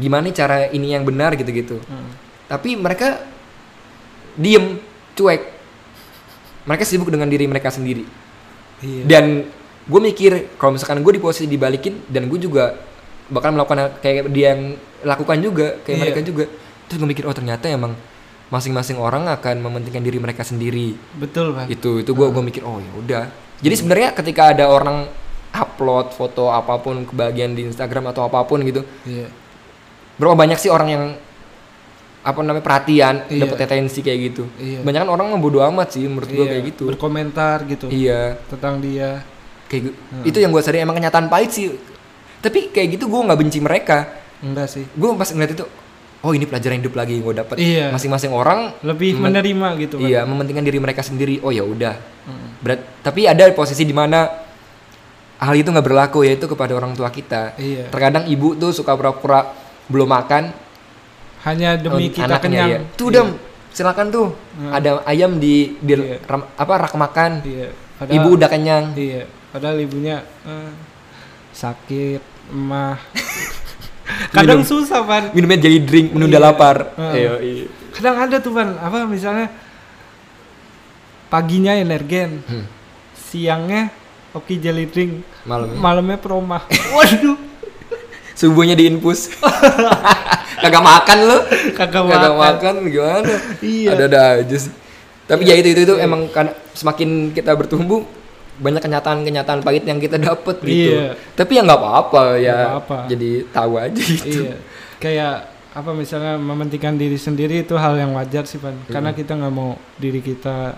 S1: gimana cara ini yang benar gitu gitu
S2: Hmm.
S1: tapi mereka diem cuek mereka sibuk dengan diri mereka sendiri
S2: iya
S1: dan gue mikir kalau misalkan gue di posisi dibalikin dan gue juga bakal melakukan hal kayak dia yang lakukan juga kayak
S2: Iya.
S1: mereka juga terus gue mikir oh ternyata emang masing-masing orang akan mementingkan diri mereka sendiri
S2: betul pak
S1: itu itu gue gue mikir oh ya udah jadi sebenarnya ketika ada orang upload foto apapun kebagian di Instagram atau apapun gitu
S2: iya
S1: berapa banyak sih orang yang apa namanya perhatian
S2: Iya.
S1: dapat atensi kayak gitu
S2: Iya.
S1: banyak orang membodo amat sih menurut gue
S2: Iya,
S1: kayak gitu
S2: berkomentar gitu
S1: iya
S2: tentang dia
S1: kayak gitu.
S2: Hmm.
S1: itu yang gue sadari emang kenyataan pahit sih tapi kayak gitu gue nggak benci mereka
S2: enggak sih
S1: gue pas ngeliat itu oh ini pelajaran hidup lagi yang gue dapat
S2: Iya.
S1: masing-masing orang
S2: lebih
S1: Men-
S2: menerima gitu Pak.
S1: iya mementingkan diri mereka sendiri oh ya udah
S2: Mm.
S1: berat tapi ada posisi di mana hal itu nggak berlaku yaitu kepada orang tua kita
S2: Iya.
S1: terkadang ibu tuh suka pura-pura belum makan
S2: hanya demi
S1: untuk
S2: kita kenyang
S1: ya.
S2: Hmm.
S1: tuh dam silakan tuh ada ayam di, di
S2: Iya.
S1: ram- apa rak makan
S2: iya padahal-
S1: ibu udah kenyang
S2: iya padahal ibunya eh, sakit mah kadang susah pan
S1: minumnya jadi drink menunda lapar
S2: Hmm.
S1: Iya, iya.
S2: kadang ada tuh pan apa misalnya paginya energen
S1: Hmm.
S2: siangnya oke jelly drink
S1: malam
S2: malamnya proma waduh
S1: subuhnya diinfus kagak makan lu
S2: kagak
S1: kagak
S2: makan
S1: makan gimana
S2: Iya.
S1: ada ada aja sih tapi ya itu itu itu emang kan semakin kita bertumbuh banyak kenyataan kenyataan pahit yang kita dapet gitu
S2: Iya.
S1: tapi ya nggak apa-apa ya
S2: apa-apa.
S1: jadi tahu aja gitu
S2: iya kayak apa misalnya mementingkan diri sendiri itu hal yang wajar sih pan karena
S1: Hmm.
S2: kita nggak mau diri kita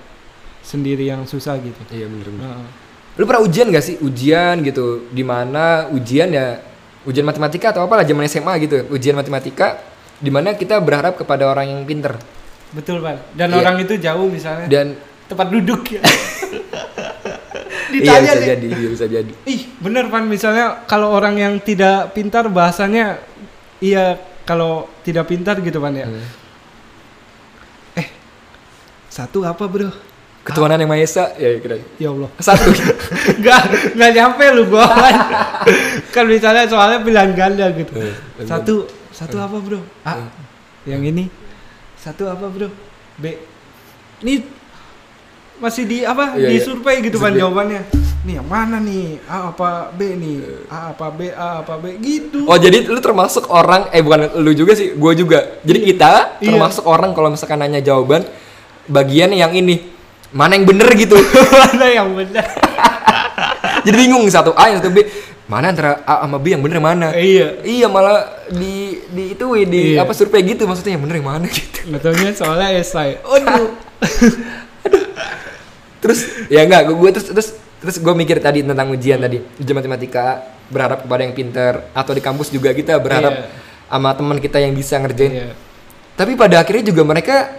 S2: sendiri yang susah gitu
S1: iya bener
S2: Heeh.
S1: lu pernah ujian gak sih ujian gitu dimana ujian ya ujian matematika atau apalah zaman SMA gitu ujian matematika dimana kita berharap kepada orang yang pinter
S2: betul pan dan
S1: Iya.
S2: orang itu jauh misalnya
S1: dan
S2: tempat duduk ya
S1: iya
S2: ditanya
S1: bisa
S2: nih,
S1: jadi iya bisa jadi
S2: ih bener pan misalnya kalau orang yang tidak pintar bahasanya iya kalau tidak pintar gitu pan ya
S1: Hmm.
S2: eh satu apa bro
S1: ketuhanan yang maha esa ya keren
S2: ya allah
S1: satu
S2: nggak nggak nyampe lu gua Pan. kan misalnya soalnya pilihan ganda gitu
S1: Eh, eh,
S2: satu satu apa bro a yang ini satu apa bro b ini masih di apa
S1: Iya,
S2: di
S1: iya.
S2: survei gitu pan
S1: Survei.
S2: jawabannya nih yang mana nih a apa b nih a apa b a apa b gitu
S1: oh jadi lu termasuk orang eh bukan lu juga sih gue juga jadi kita
S2: Iya.
S1: termasuk orang kalau misalkan nanya jawaban bagian yang ini mana yang bener gitu
S2: mana yang benar
S1: jadi bingung satu a yang satu b mana antara a sama b yang bener mana
S2: iya
S1: Iya malah di di itu di
S2: Iya.
S1: apa survei gitu maksudnya yang bener yang mana gitu.
S2: nggak taunya soalnya ya, esai
S1: Aduh. terus ya enggak gue terus terus terus gue mikir tadi tentang ujian tadi ujian matematika berharap kepada yang pinter atau di kampus juga kita berharap
S2: Iya.
S1: sama teman kita yang bisa ngerjain.
S2: iya.
S1: Tapi pada akhirnya juga mereka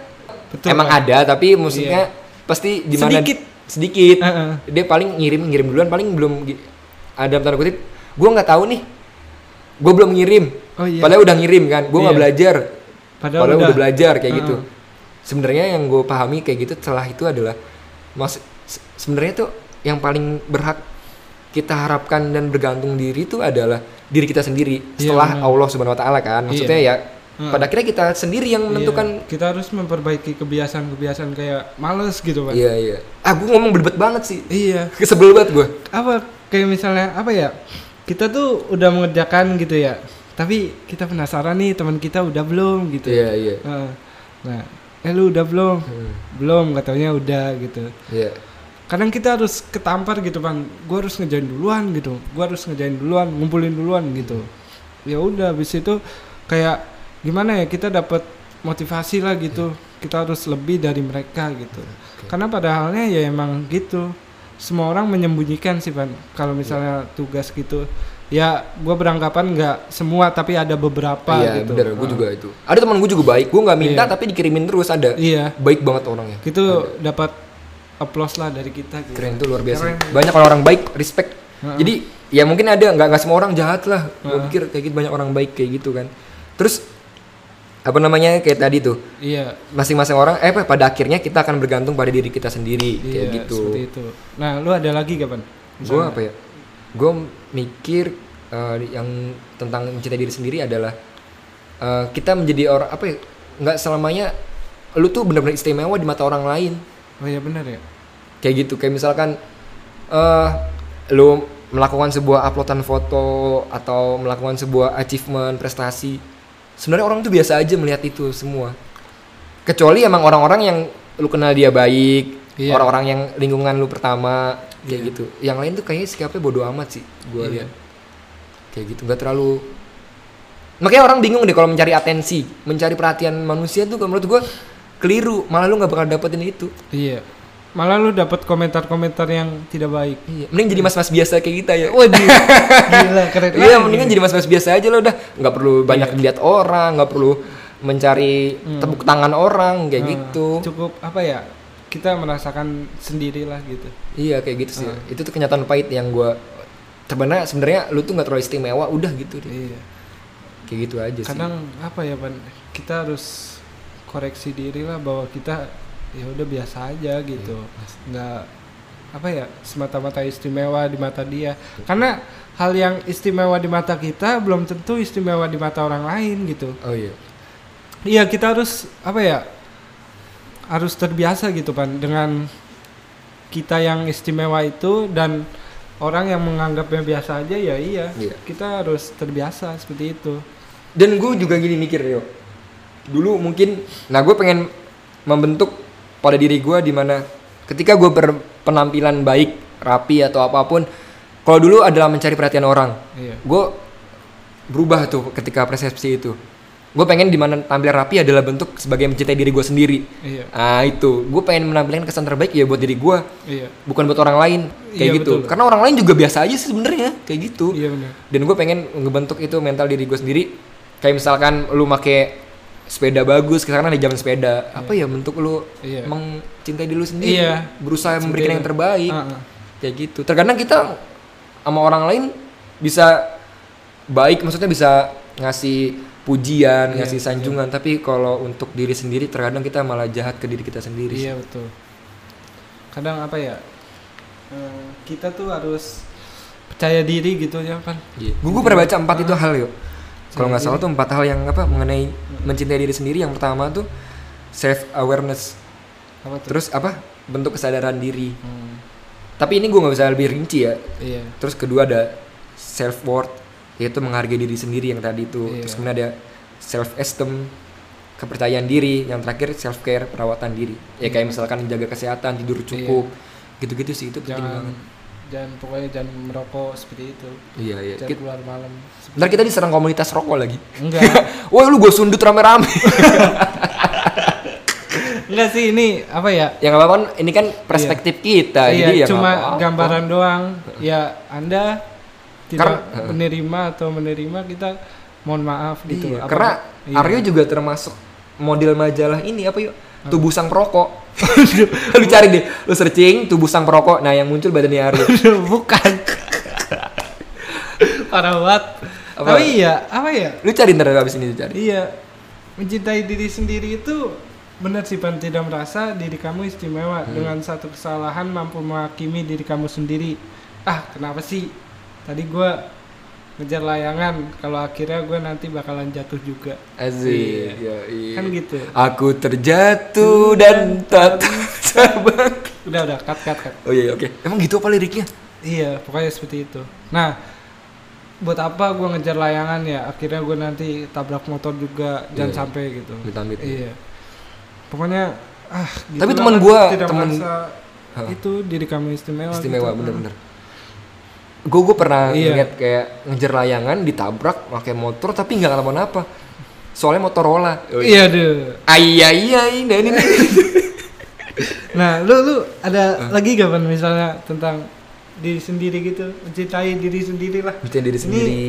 S2: Betul,
S1: emang
S2: Pak. Iya.
S1: ada tapi maksudnya pasti di mana
S2: Sedikit.
S1: sedikit.
S2: Heeh.
S1: Dia paling ngirim ngirim duluan paling belum gi- ada tanda kutip gue nggak tahu nih gue belum ngirim
S2: Oh, iya.
S1: padahal udah ngirim kan gue nggak
S2: Iya.
S1: belajar
S2: Padahal
S1: padahal, udah.
S2: udah.
S1: belajar kayak gitu
S2: Heeh.
S1: sebenarnya yang gue pahami kayak gitu setelah itu adalah mas se- sebenarnya tuh yang paling berhak kita harapkan dan bergantung diri itu adalah diri kita sendiri
S2: Iya,
S1: setelah
S2: benar.
S1: Allah subhanahu wa taala kan maksudnya ya pada akhirnya kita sendiri yang menentukan
S2: Iya, kita harus memperbaiki kebiasaan-kebiasaan kayak males gitu pak
S1: iya iya ah gue ngomong belibet banget sih
S2: iya
S1: kesebel banget gue
S2: apa kayak misalnya apa ya kita tuh udah mengerjakan gitu ya tapi kita penasaran nih teman kita udah belum gitu
S1: iya iya
S2: Heeh. nah eh lu udah belum belum katanya udah gitu
S1: Iya.
S2: kadang kita harus ketampar gitu bang gue harus ngejain duluan gitu gue harus ngejain duluan ngumpulin duluan gitu ya udah habis itu kayak gimana ya kita dapat motivasi lah gitu
S1: Iya.
S2: kita harus lebih dari mereka gitu karena padahalnya ya emang gitu semua orang menyembunyikan sih bang kalau
S1: Iya.
S2: misalnya tugas gitu ya gue beranggapan nggak semua tapi ada beberapa
S1: Iya,
S2: gitu
S1: bener, gue
S2: Ah.
S1: juga itu. Ada teman gue juga baik, gue nggak minta
S2: Iya.
S1: tapi dikirimin terus ada.
S2: iya
S1: Baik banget orangnya.
S2: itu dapat applause lah dari kita gitu.
S1: Keren tuh luar biasa.
S2: Keren.
S1: Banyak orang-orang baik, respect.
S2: Heeh.
S1: Jadi ya mungkin ada nggak nggak semua orang jahat lah. Gue
S2: Heeh.
S1: pikir kayak gitu banyak orang baik kayak gitu kan. Terus apa namanya kayak tadi tuh
S2: iya
S1: masing-masing orang eh pada akhirnya kita akan bergantung pada diri kita sendiri kayak
S2: Iya,
S1: gitu.
S2: Seperti itu. Nah, lu ada lagi kapan?
S1: gue apa ya gue mikir eh, yang tentang mencintai diri sendiri adalah eh, kita menjadi orang apa ya nggak selamanya lu tuh benar-benar istimewa di mata orang lain
S2: Oh iya benar ya.
S1: kayak gitu kayak misalkan eh lu melakukan sebuah uploadan foto atau melakukan sebuah achievement prestasi sebenarnya orang tuh biasa aja melihat itu semua kecuali emang orang-orang yang lu kenal dia baik
S2: Iya.
S1: orang-orang yang lingkungan lu pertama kayak gitu yang lain tuh kayaknya sikapnya bodoh amat sih gua
S2: Iya.
S1: lihat kayak gitu nggak terlalu makanya orang bingung deh kalau mencari atensi mencari perhatian manusia tuh menurut gua keliru malah lu nggak bakal dapetin itu
S2: Iya. Malah lu dapat komentar-komentar yang tidak baik.
S1: Iya, mending jadi mas-mas biasa kayak kita ya.
S2: Waduh. Gila, keren. Iya.
S1: Iya,
S2: banget.
S1: mendingan jadi mas-mas biasa aja lo udah nggak perlu banyak dilihat orang, nggak perlu mencari
S2: Hmm.
S1: tepuk tangan orang kayak
S2: Nah,
S1: gitu.
S2: Cukup apa ya? Kita merasakan sendirilah gitu.
S1: Iya kayak gitu sih.
S2: Hmm.
S1: Itu tuh kenyataan pahit yang gua sebenarnya sebenarnya lu tuh nggak terlalu istimewa, udah gitu deh.
S2: Iya.
S1: Kayak gitu aja sih.
S2: Kadang apa ya, Ban? Kita harus koreksi diri lah bahwa kita ya udah biasa aja gitu.
S1: Iya,
S2: Nggak apa ya semata-mata istimewa di mata dia karena hal yang istimewa di mata kita belum tentu istimewa di mata orang lain gitu
S1: Oh iya.
S2: Iya kita harus apa ya harus terbiasa gitu pan dengan kita yang istimewa itu dan orang yang menganggapnya biasa aja ya iya
S1: Iya.
S2: kita harus terbiasa seperti itu
S1: Dan gue juga gini mikir yo. Dulu mungkin, nah gue pengen membentuk pada diri gue di mana ketika gue berpenampilan baik, rapi atau apapun, kalau dulu adalah mencari perhatian orang.
S2: iya
S1: gue berubah tuh ketika persepsi itu gue pengen dimana tampil rapi adalah bentuk sebagai mencintai diri gue sendiri
S2: iya
S1: ah itu gue pengen menampilkan kesan terbaik ya buat diri gue
S2: iya
S1: bukan buat orang lain kayak
S2: Iya,
S1: gitu
S2: betul.
S1: karena orang lain juga biasa aja sih sebenarnya kayak gitu
S2: iya benar
S1: dan gue pengen ngebentuk itu mental diri gue sendiri kayak misalkan lu make sepeda bagus karena ada zaman sepeda apa ya bentuk lu
S2: Iya.
S1: mencintai diri lu sendiri
S2: Iya.
S1: berusaha
S2: Seperti
S1: memberikan
S2: itu.
S1: yang terbaik
S2: Ah, ah.
S1: kayak gitu terkadang kita sama orang lain bisa baik maksudnya bisa ngasih pujian
S2: Iya,
S1: ngasih sanjungan tapi kalau untuk diri sendiri terkadang kita malah jahat ke diri kita sendiri
S2: iya betul kadang apa ya eh, kita tuh harus percaya diri gitu ya pan
S1: gue pernah baca empat
S2: Ah.
S1: itu hal yuk kalau
S2: Iya,
S1: nggak salah tuh empat hal yang apa mengenai mencintai diri sendiri yang pertama tuh self awareness
S2: apa tuh
S1: terus apa bentuk kesadaran diri
S2: Hmm,
S1: tapi ini gue nggak bisa lebih rinci ya
S2: iya
S1: Terus kedua ada self worth yaitu menghargai diri sendiri yang tadi itu.
S2: Iya.
S1: Terus kemudian ada self esteem kepercayaan diri, yang terakhir self care perawatan diri. Ya kayak misalkan jaga kesehatan, tidur cukup, gitu-gitu sih itu penting
S2: Iya. jangan
S1: banget.
S2: jangan pokoknya jangan merokok seperti itu
S1: Iya iya.
S2: jangan
S1: Kita,
S2: keluar malam
S1: ntar kita diserang komunitas rokok lagi.
S2: enggak
S1: Wah lu gue sundut rame-rame.
S2: Enggak sih ini apa ya?
S1: ya nggak apa-apa kan, ini kan perspektif kita. jadi
S2: iya,
S1: ya nggak
S2: cuma
S1: apa-apa.
S2: gambaran doang. Ya Anda tidak
S1: Karena-
S2: menerima atau menerima kita mohon maaf gitu.
S1: Iya,
S2: Apa-
S1: karena
S2: iya.
S1: Aryo juga termasuk model majalah ini apa yuk? Tubuh sang perokok. lu cari deh, lu searching tubuh sang perokok. Nah, yang muncul badannya Aryo.
S2: bukan Iya, parah banget.
S1: Apa?
S2: Tapi iya, apa ya?
S1: Lu cari ntar abis ini lu cari.
S2: Iya. Mencintai diri sendiri itu benar sih Pan tidak merasa diri kamu istimewa dengan satu kesalahan mampu menghakimi diri kamu sendiri. Ah, kenapa sih? Tadi gua ngejar layangan, kalau akhirnya gua nanti bakalan jatuh juga.
S1: Aziz.
S2: Kan
S1: Iya.
S2: gitu.
S1: Aku terjatuh dan tak terbang.
S2: Udah udah cut cut cut.
S1: Oh iya, iya, oke. Emang gitu apa liriknya?
S2: Iya, pokoknya seperti itu. Nah, buat apa gua ngejar layangan ya? Akhirnya gua nanti tabrak motor juga, jangan
S1: Iya.
S2: sampai gitu.
S1: Amit-amit.
S2: Iya. pokoknya ah gitu
S1: Tapi
S2: lah,
S1: teman
S2: kan
S1: gua,
S2: tidak
S1: teman-
S2: merasa
S1: Hah.
S2: itu diri kamu istimewa
S1: istimewa
S2: gitu.
S1: bener-bener gue gue pernah
S2: Iya.
S1: ngeliat kayak ngejar layangan ditabrak pakai motor tapi nggak kenapa napa soalnya Motorola
S2: iya deh
S1: iya iya ini ini
S2: Nah, lu lu ada lagi gak Pan, misalnya tentang diri sendiri gitu, mencintai diri sendiri lah.
S1: mencintai diri
S2: Ini
S1: sendiri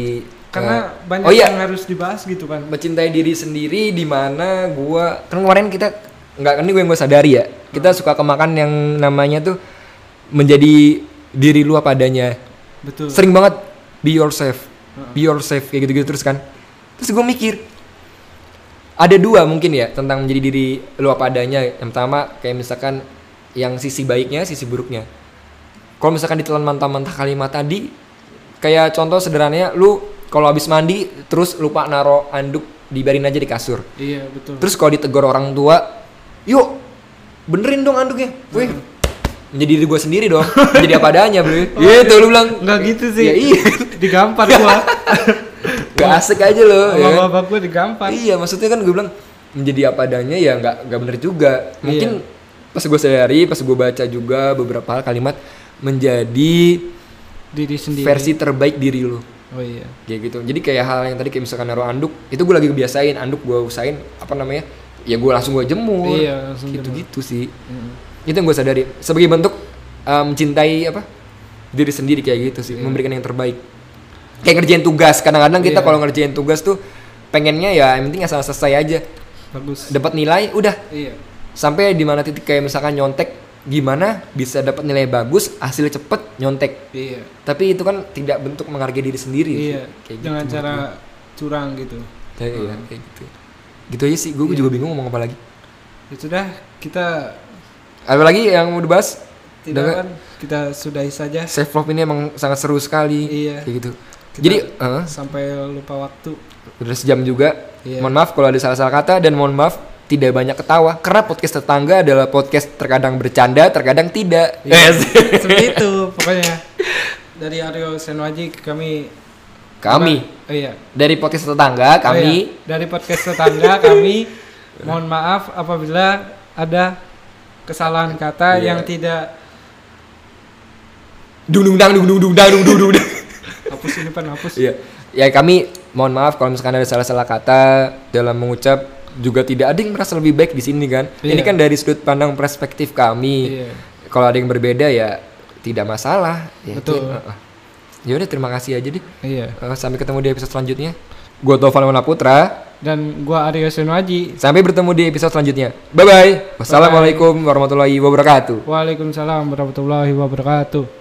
S2: Karena
S1: eh,
S2: banyak
S1: oh iya
S2: yang harus dibahas gitu kan.
S1: mencintai diri sendiri di mana gue kan kemarin kita nggak ini gue yang gue sadari ya kita suka kemakan yang namanya tuh menjadi diri lu apa adanya
S2: Betul.
S1: sering banget be yourself be yourself kayak gitu-gitu terus kan terus gue mikir ada dua mungkin ya tentang menjadi diri lu apa adanya yang pertama kayak misalkan yang sisi baiknya sisi buruknya kalau misalkan ditelan mantah-mantah kalimat tadi kayak contoh sederhananya lu kalau habis mandi terus lupa naro anduk dibiarin aja di kasur
S2: Iya, betul.
S1: Terus kalau ditegur orang tua, yuk benerin dong anduknya. Wih, menjadi diri gue sendiri dong. Jadi apa adanya bro. gitu lu bilang.
S2: Enggak gitu sih.
S1: Ya iya.
S2: digampar gua.
S1: Gak asik aja lo. ya kan?
S2: Sama bapak gua digampar.
S1: Oh, Iya maksudnya kan gue bilang menjadi apa adanya ya nggak nggak bener juga.
S2: Iya.
S1: Mungkin pas gue sadari, pas gue baca juga beberapa hal kalimat menjadi
S2: Diri sendiri.
S1: versi terbaik diri lu.
S2: Oh iya.
S1: kayak gitu jadi kayak hal yang tadi kayak misalkan naruh anduk itu gue lagi kebiasain anduk gue usahain apa namanya ya gue langsung gue jemur
S2: Iya, langsung
S1: gitu gitu sih itu yang gue sadari sebagai bentuk eh, mencintai apa diri sendiri kayak gitu sih
S2: Iya.
S1: memberikan yang terbaik kayak ngerjain tugas kadang-kadang
S2: Iya.
S1: kita kalau ngerjain tugas tuh pengennya ya yang penting asal selesai aja
S2: Bagus.
S1: dapat nilai udah
S2: Iya.
S1: sampai di mana titik kayak misalkan nyontek gimana bisa dapat nilai bagus hasilnya cepet nyontek
S2: Iya.
S1: tapi itu kan tidak bentuk menghargai diri sendiri
S2: Iya.
S1: kayak gitu
S2: Dengan cara curang gitu.
S1: Ya, iya, kayak gitu. Gitu aja sih, gue
S2: Iya.
S1: juga bingung ngomong apa lagi.
S2: Ya sudah, kita
S1: Apa lagi yang mau dibahas?
S2: tidak
S1: Dengan-
S2: kan kita sudahi saja
S1: Self love ini emang sangat seru sekali.
S2: Iya.
S1: Kayak gitu.
S2: Kita-
S1: Jadi, eh,
S2: sampai lupa waktu.
S1: udah sejam juga.
S2: Iya.
S1: Mohon maaf kalau ada salah-salah kata dan mohon maaf tidak banyak ketawa karena podcast tetangga adalah podcast terkadang bercanda, terkadang tidak.
S2: Iya
S1: Yes.
S2: seperti itu pokoknya dari Aryo Senwaji kami
S1: Kami
S2: oh iya
S1: dari podcast tetangga
S2: Oh
S1: kami
S2: iya. dari podcast tetangga kami mohon maaf apabila ada kesalahan
S1: Iya.
S2: kata yang tidak
S1: dung dung dang dung dung dung dang dung dung dung dang.
S2: hapus ini pan hapus
S1: Iya. Ya kami mohon maaf kalau misalkan ada salah-salah kata dalam mengucap juga tidak ada yang merasa lebih baik di sini kan. Ini
S2: Iya.
S1: kan dari sudut pandang perspektif kami.
S2: Iya.
S1: Kalau ada yang berbeda ya tidak masalah. Ya,
S2: Betul.
S1: Ki, uh-uh. Ya udah terima kasih aja deh.
S2: iya
S1: Uh, sampai ketemu di episode selanjutnya. Gue Taufan Wana Putra.
S2: dan gua Aryo Senwaji
S1: Sampai bertemu di episode selanjutnya. Bye bye. Wassalamualaikum warahmatullahi wabarakatuh.
S2: Waalaikumsalam warahmatullahi wabarakatuh